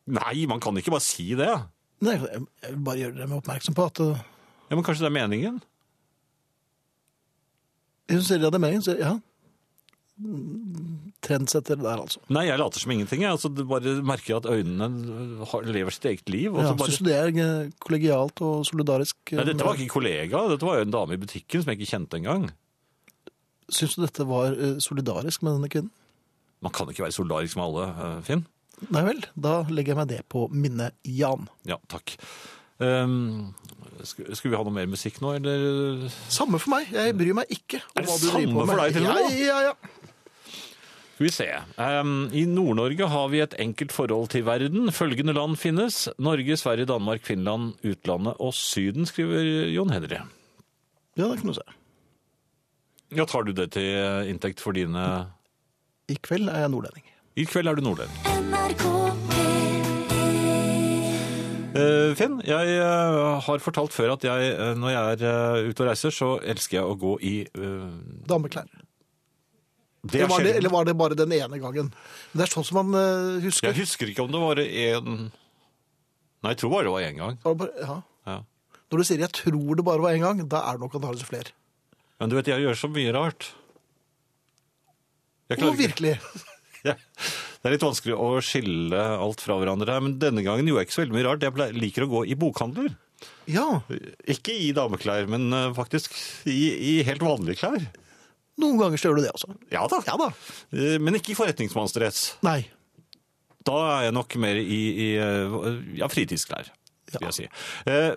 S2: Nei, man kan ikke bare si det.
S1: Nei, jeg jeg vil bare gjøre dere oppmerksom på at uh,
S2: Ja, Men kanskje det er meningen?
S1: Hun sier ja, det er meningen. Så, ja. Trendsetter der, altså.
S2: Nei, jeg later som ingenting. Jeg altså, bare merker at øynene har- lever sitt eget liv. Og
S1: Ja,
S2: så bare...
S1: Syns du det er eh, kollegialt og solidarisk? eh,
S2: Nei, dette var ikke kollega, dette var jo en dame i butikken som jeg ikke kjente engang.
S1: Syns du dette var eh, solidarisk med denne kvinnen?
S2: Man kan ikke være solidarisk med alle, eh, Finn.
S1: Nei vel, da legger jeg meg det på minnet, Jan.
S2: Ja, takk. Ehm, sk- skulle vi ha noe mer musikk nå, eller?
S1: Samme for meg, jeg bryr meg ikke om
S2: Er det
S1: hva du driver
S2: samme
S1: på med.
S2: for deg til
S1: ja,
S2: nå?
S1: ja, ja.
S2: Skal vi se. Ehm, I Nord-Norge har vi et enkelt forhold til verden. Følgende land finnes. Norge, Sverige, Danmark, Finland, utlandet og Syden, skriver Jon Henry.
S1: ja, det kan du se.
S2: Ja, tar du det til inntekt for dine
S1: I kveld er jeg nordlending.
S2: I kveld er du nordlending.
S4: NRK P1
S2: Eh, Finn, jeg eh, har fortalt før at jeg, eh, når jeg er eh, ute og reiser, så elsker jeg å gå i eh,
S1: Dameklær.
S2: Det
S1: Eller
S2: er
S1: var det,
S2: sjelden.
S1: eller var det bare den ene gangen? Men det er sånn som man eh, husker.
S2: Jeg husker ikke om det var én Nei, jeg tror bare det var én gang.
S1: Var det bare- ja.
S2: Ja.
S1: Når du sier 'jeg tror det bare var én gang', da er det nok antakelig flere.
S2: Men du vet, jeg gjør så mye rart. Jeg
S1: Å,
S2: klarer ikke-
S1: virkelig.
S2: Ja. Det er litt vanskelig å skille alt fra hverandre her, men denne gangen gjorde jeg ikke så veldig mye rart. Jeg ble- liker å gå i bokhandler.
S1: Ja.
S2: Ikke i dameklær, men eh, faktisk i, i helt vanlige klær.
S1: Noen ganger så gjør du det også.
S2: Ja da. Eh, Men ikke i forretningsmannsdress.
S1: Nei.
S2: Da er jeg nok mer i, i eh, ja, fritidsklær, vil
S1: Ja.
S2: jeg si. Eh,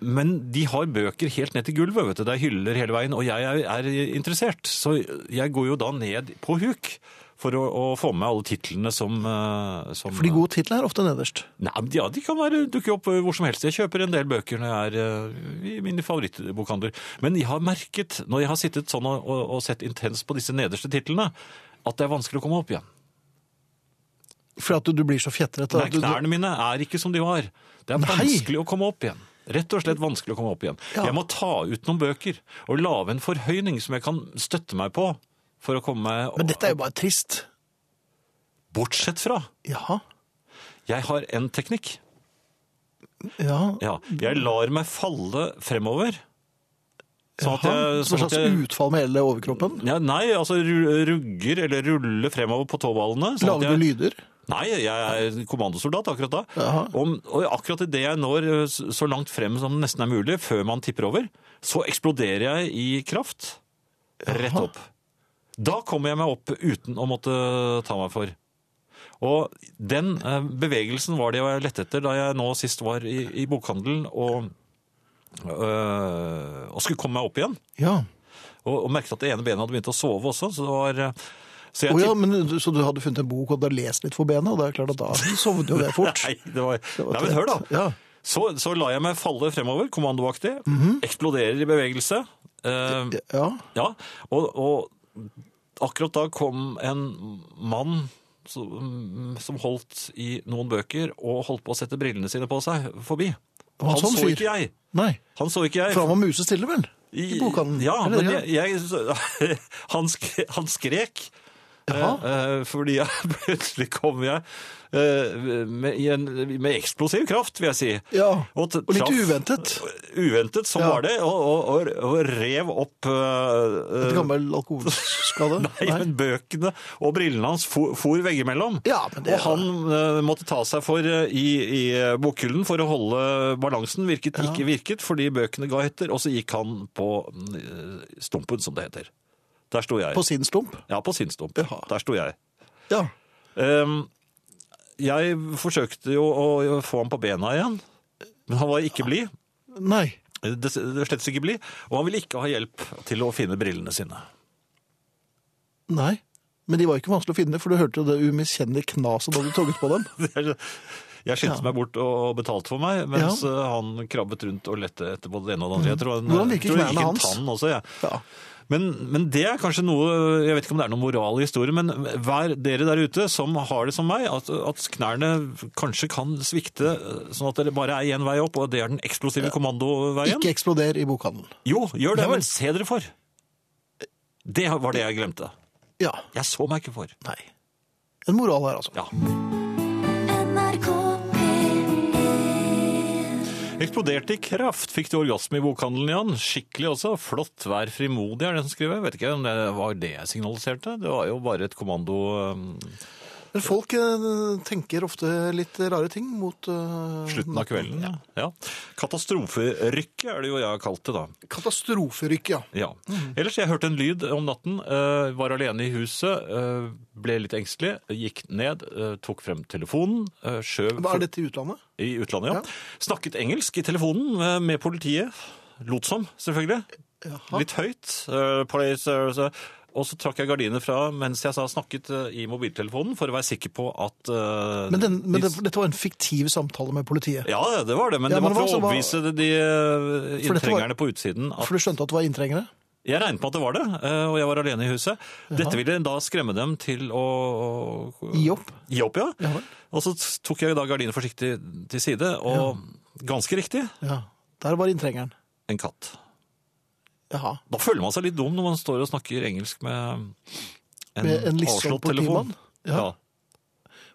S2: Men de har bøker helt ned til gulvet, vet du. Det er hyller hele veien, og jeg er, er interessert. Så jeg går jo da ned på huk for å, å få med alle titlene som, eh, som
S1: For de gode titlene er ofte nederst.
S2: Nei, men ja, de kan være, dukke opp hvor som helst. Jeg kjøper en del bøker når jeg er eh, i mine favorittbokhandler. Men jeg har merket, når jeg har sittet sånn og, og, og sett intenst på disse nederste titlene, at det er vanskelig å komme opp igjen.
S1: For at du, du blir så fjetret.
S2: Nei,
S1: at du-
S2: knærne mine er ikke som de var. Det er
S1: Nei.
S2: vanskelig å komme opp igjen. Rett og slett vanskelig å komme opp igjen.
S1: Ja.
S2: Jeg må ta ut noen bøker og lage en forhøyning som jeg kan støtte meg på for å komme meg
S1: Men dette er jo bare trist.
S2: Bortsett fra,
S1: Jaha.
S2: jeg har en teknikk.
S1: Ja.
S2: Ja, jeg lar meg falle fremover. Sånn at
S1: Jaha.
S2: jeg,
S1: Som
S2: sånn
S1: et
S2: at
S1: slags
S2: jeg
S1: utfall med hele overkroppen?
S2: ja, Nei, altså ru- rugger eller ruller fremover på tåballene. sånn at
S1: Lager du
S2: jeg-
S1: lyder?
S2: Nei, jeg er kommandosoldat akkurat da.
S1: Jaha.
S2: Om, og akkurat idet jeg når eh, s- så langt frem som det nesten er mulig, før man tipper over, så eksploderer jeg i kraft. Rett opp. Da kommer jeg meg opp uten å måtte ta meg for. Og den eh, bevegelsen var det jeg lette etter da jeg nå sist var i, i bokhandelen og, øh, og skulle komme meg opp igjen.
S1: Ja.
S2: Og, og merket at det ene benet hadde begynt å sove også. Så det var... eh, Så
S1: Å ja, men du- Så du hadde funnet en bok og hadde lest litt for benet, og det er klart at da sovner jo det fort.
S2: Nei, det var,
S1: Det var
S2: Nei, men hør da.
S1: trent. Ja.
S2: Så, så la jeg meg falle fremover, kommandoaktig. Eksploderer i bevegelse. Eh,
S1: Mhm. Ja,
S2: ja, og, og akkurat da kom en mann som, som holdt i noen bøker og holdt på å sette brillene sine på seg forbi.
S1: var
S2: Han
S1: sånn
S2: så
S1: fyr.
S2: ikke jeg.
S1: nei.
S2: Han så ikke jeg.
S1: For han var musestille, vel? I
S2: I-
S1: bokhandelen.
S2: Ja,
S1: Eller,
S2: men jeg, jeg, han, sk han skrek. Eh, eh, fordi jeg, plutselig kom jeg eh, med, i en, med eksplosiv kraft, vil jeg si.
S1: Ja,
S2: Og, t-
S1: og litt
S2: traff-
S1: uventet.
S2: Uventet, som
S1: Ja.
S2: var det, og, og, og, og rev opp eh,
S1: Et
S2: eh,
S1: gammel alkoholskade.
S2: Nei, men bøkene og brillene hans for, for veggimellom.
S1: Ja, men det
S2: og han eh, måtte ta seg for eh, i, i bokhyllen for å holde balansen, hvilket ikke virket, fordi bøkene ga etter, og så gikk han på mm, stumpen, som det heter. Der sto jeg.
S1: På sin stump.
S2: Ja, på sin stump.
S1: Jaha.
S2: Der sto jeg.
S1: Ja.
S2: Ehm, jeg forsøkte jo å få ham på bena igjen, men han var ikke blid.
S1: Nei.
S2: Det, det slett ikke blid, og han ville ikke ha hjelp til å finne brillene sine.
S1: Nei. Men de var ikke vanskelig å finne, for du hørte jo det umiskjennelige knaset da du togget på dem.
S2: Jeg jeg skyndte
S1: Ja.
S2: meg bort og betalte for meg, mens eh, han krabbet rundt og lette etter både det ene og det andre. Jeg tror han,
S1: Mm. Hvordan virker
S2: jeg tror det
S1: knærne
S2: gikk en
S1: hans?
S2: Tann også, jeg.
S1: Ja.
S2: Men, men det er kanskje noe Jeg vet ikke om det er noen moral i historien, men vær dere der ute som har det som meg, at, at knærne kanskje kan svikte, eh, sånn at det bare er én vei opp, og det er den eksplosive kommandoveien.
S1: Ikke eksploder i bokhandelen.
S2: Jo, gjør
S1: Ja
S2: det,
S1: vel.
S2: men se dere for! Det var det jeg glemte.
S1: Ja.
S2: Jeg så meg ikke for.
S1: Nei. En moral her, altså.
S2: Ja.
S4: NRK P1
S2: Eksploderte i kraft, fikk du orgasme i bokhandelen, Jan. Skikkelig også. Flott, vær frimodig, er det som skriver. Jeg vet ikke om det var det jeg signaliserte. Det var jo bare et kommando um, øhm,
S1: Men folk eh, tenker ofte litt rare ting mot eh,
S2: slutten av kvelden. Ja. ja. Katastroferykket er det jo jeg har kalt det, da.
S1: Katastroferykk, ja.
S2: Ja. Ellers, jeg hørte en lyd om natten. øh, var alene i huset. øh, ble litt engstelig. Gikk ned, øh, tok frem telefonen. øh, skjøv
S1: Hva er dette i utlandet?
S2: i utlandet, ja.
S1: Ja.
S2: Snakket engelsk i telefonen øh, med politiet. Lot som, selvfølgelig.
S1: Jaha.
S2: Litt høyt. eh, police, eh, og så trakk jeg gardiner fra mens jeg sa snakket eh, i mobiltelefonen, for å være sikker på at eh,
S1: Men, den, men
S2: de-
S1: det, dette var en fiktiv samtale med politiet.
S2: Ja, det var det, men
S1: Ja,
S2: det
S1: men
S2: var
S1: det
S2: for å
S1: var
S2: overbevise
S1: altså-
S2: de, eh,
S1: For dette var-
S2: inntrengerne på utsiden. At
S1: For du skjønte at det var inntrengere?
S2: jeg regnet med at det var det, eh, og jeg var alene i huset. Dette ville da skremme dem til å å-
S1: Gi opp?
S2: Gi opp, ja.
S1: Ja vel.
S2: Og så tok jeg da gardinen forsiktig til side, og ganske riktig
S1: Ja. Der var inntrengeren.
S2: en katt.
S1: Jaha.
S2: Da føler man seg litt dum når man står og snakker engelsk med en,
S1: Med en litt sånn
S2: avslått telefon.
S1: politimann. Ja.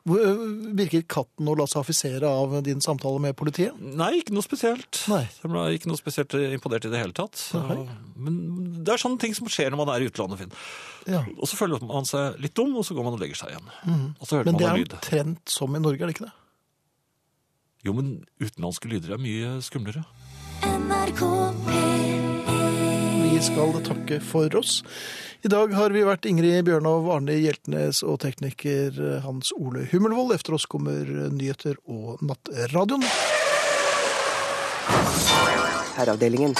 S1: Hvor- øh, Virker katten å la seg affisere av din samtale med politiet?
S2: Nei, ikke noe spesielt.
S1: Nei.
S2: Jeg ble ikke noe spesielt imponert i det hele tatt.
S1: Nei.
S2: Men det er sånne ting som skjer når man er i utlandet, Finn.
S1: Ja.
S2: Og så føler man seg litt dum, og så går man og legger seg igjen. Og så hører
S1: Mhm. Men det
S2: man
S1: er
S2: en lyd.
S1: omtrent som i Norge, er det ikke det?
S2: Jo, men utenlandske lyder er mye skumlere.
S4: NRK P1
S1: Vi skal takke for oss. I dag har vi vært Ingrid Bjørnov, Arne Hjeltnes og tekniker Hans Ole Hummelvold. Efter oss kommer nyheter og Nattradioen.
S6: Herreavdelingen.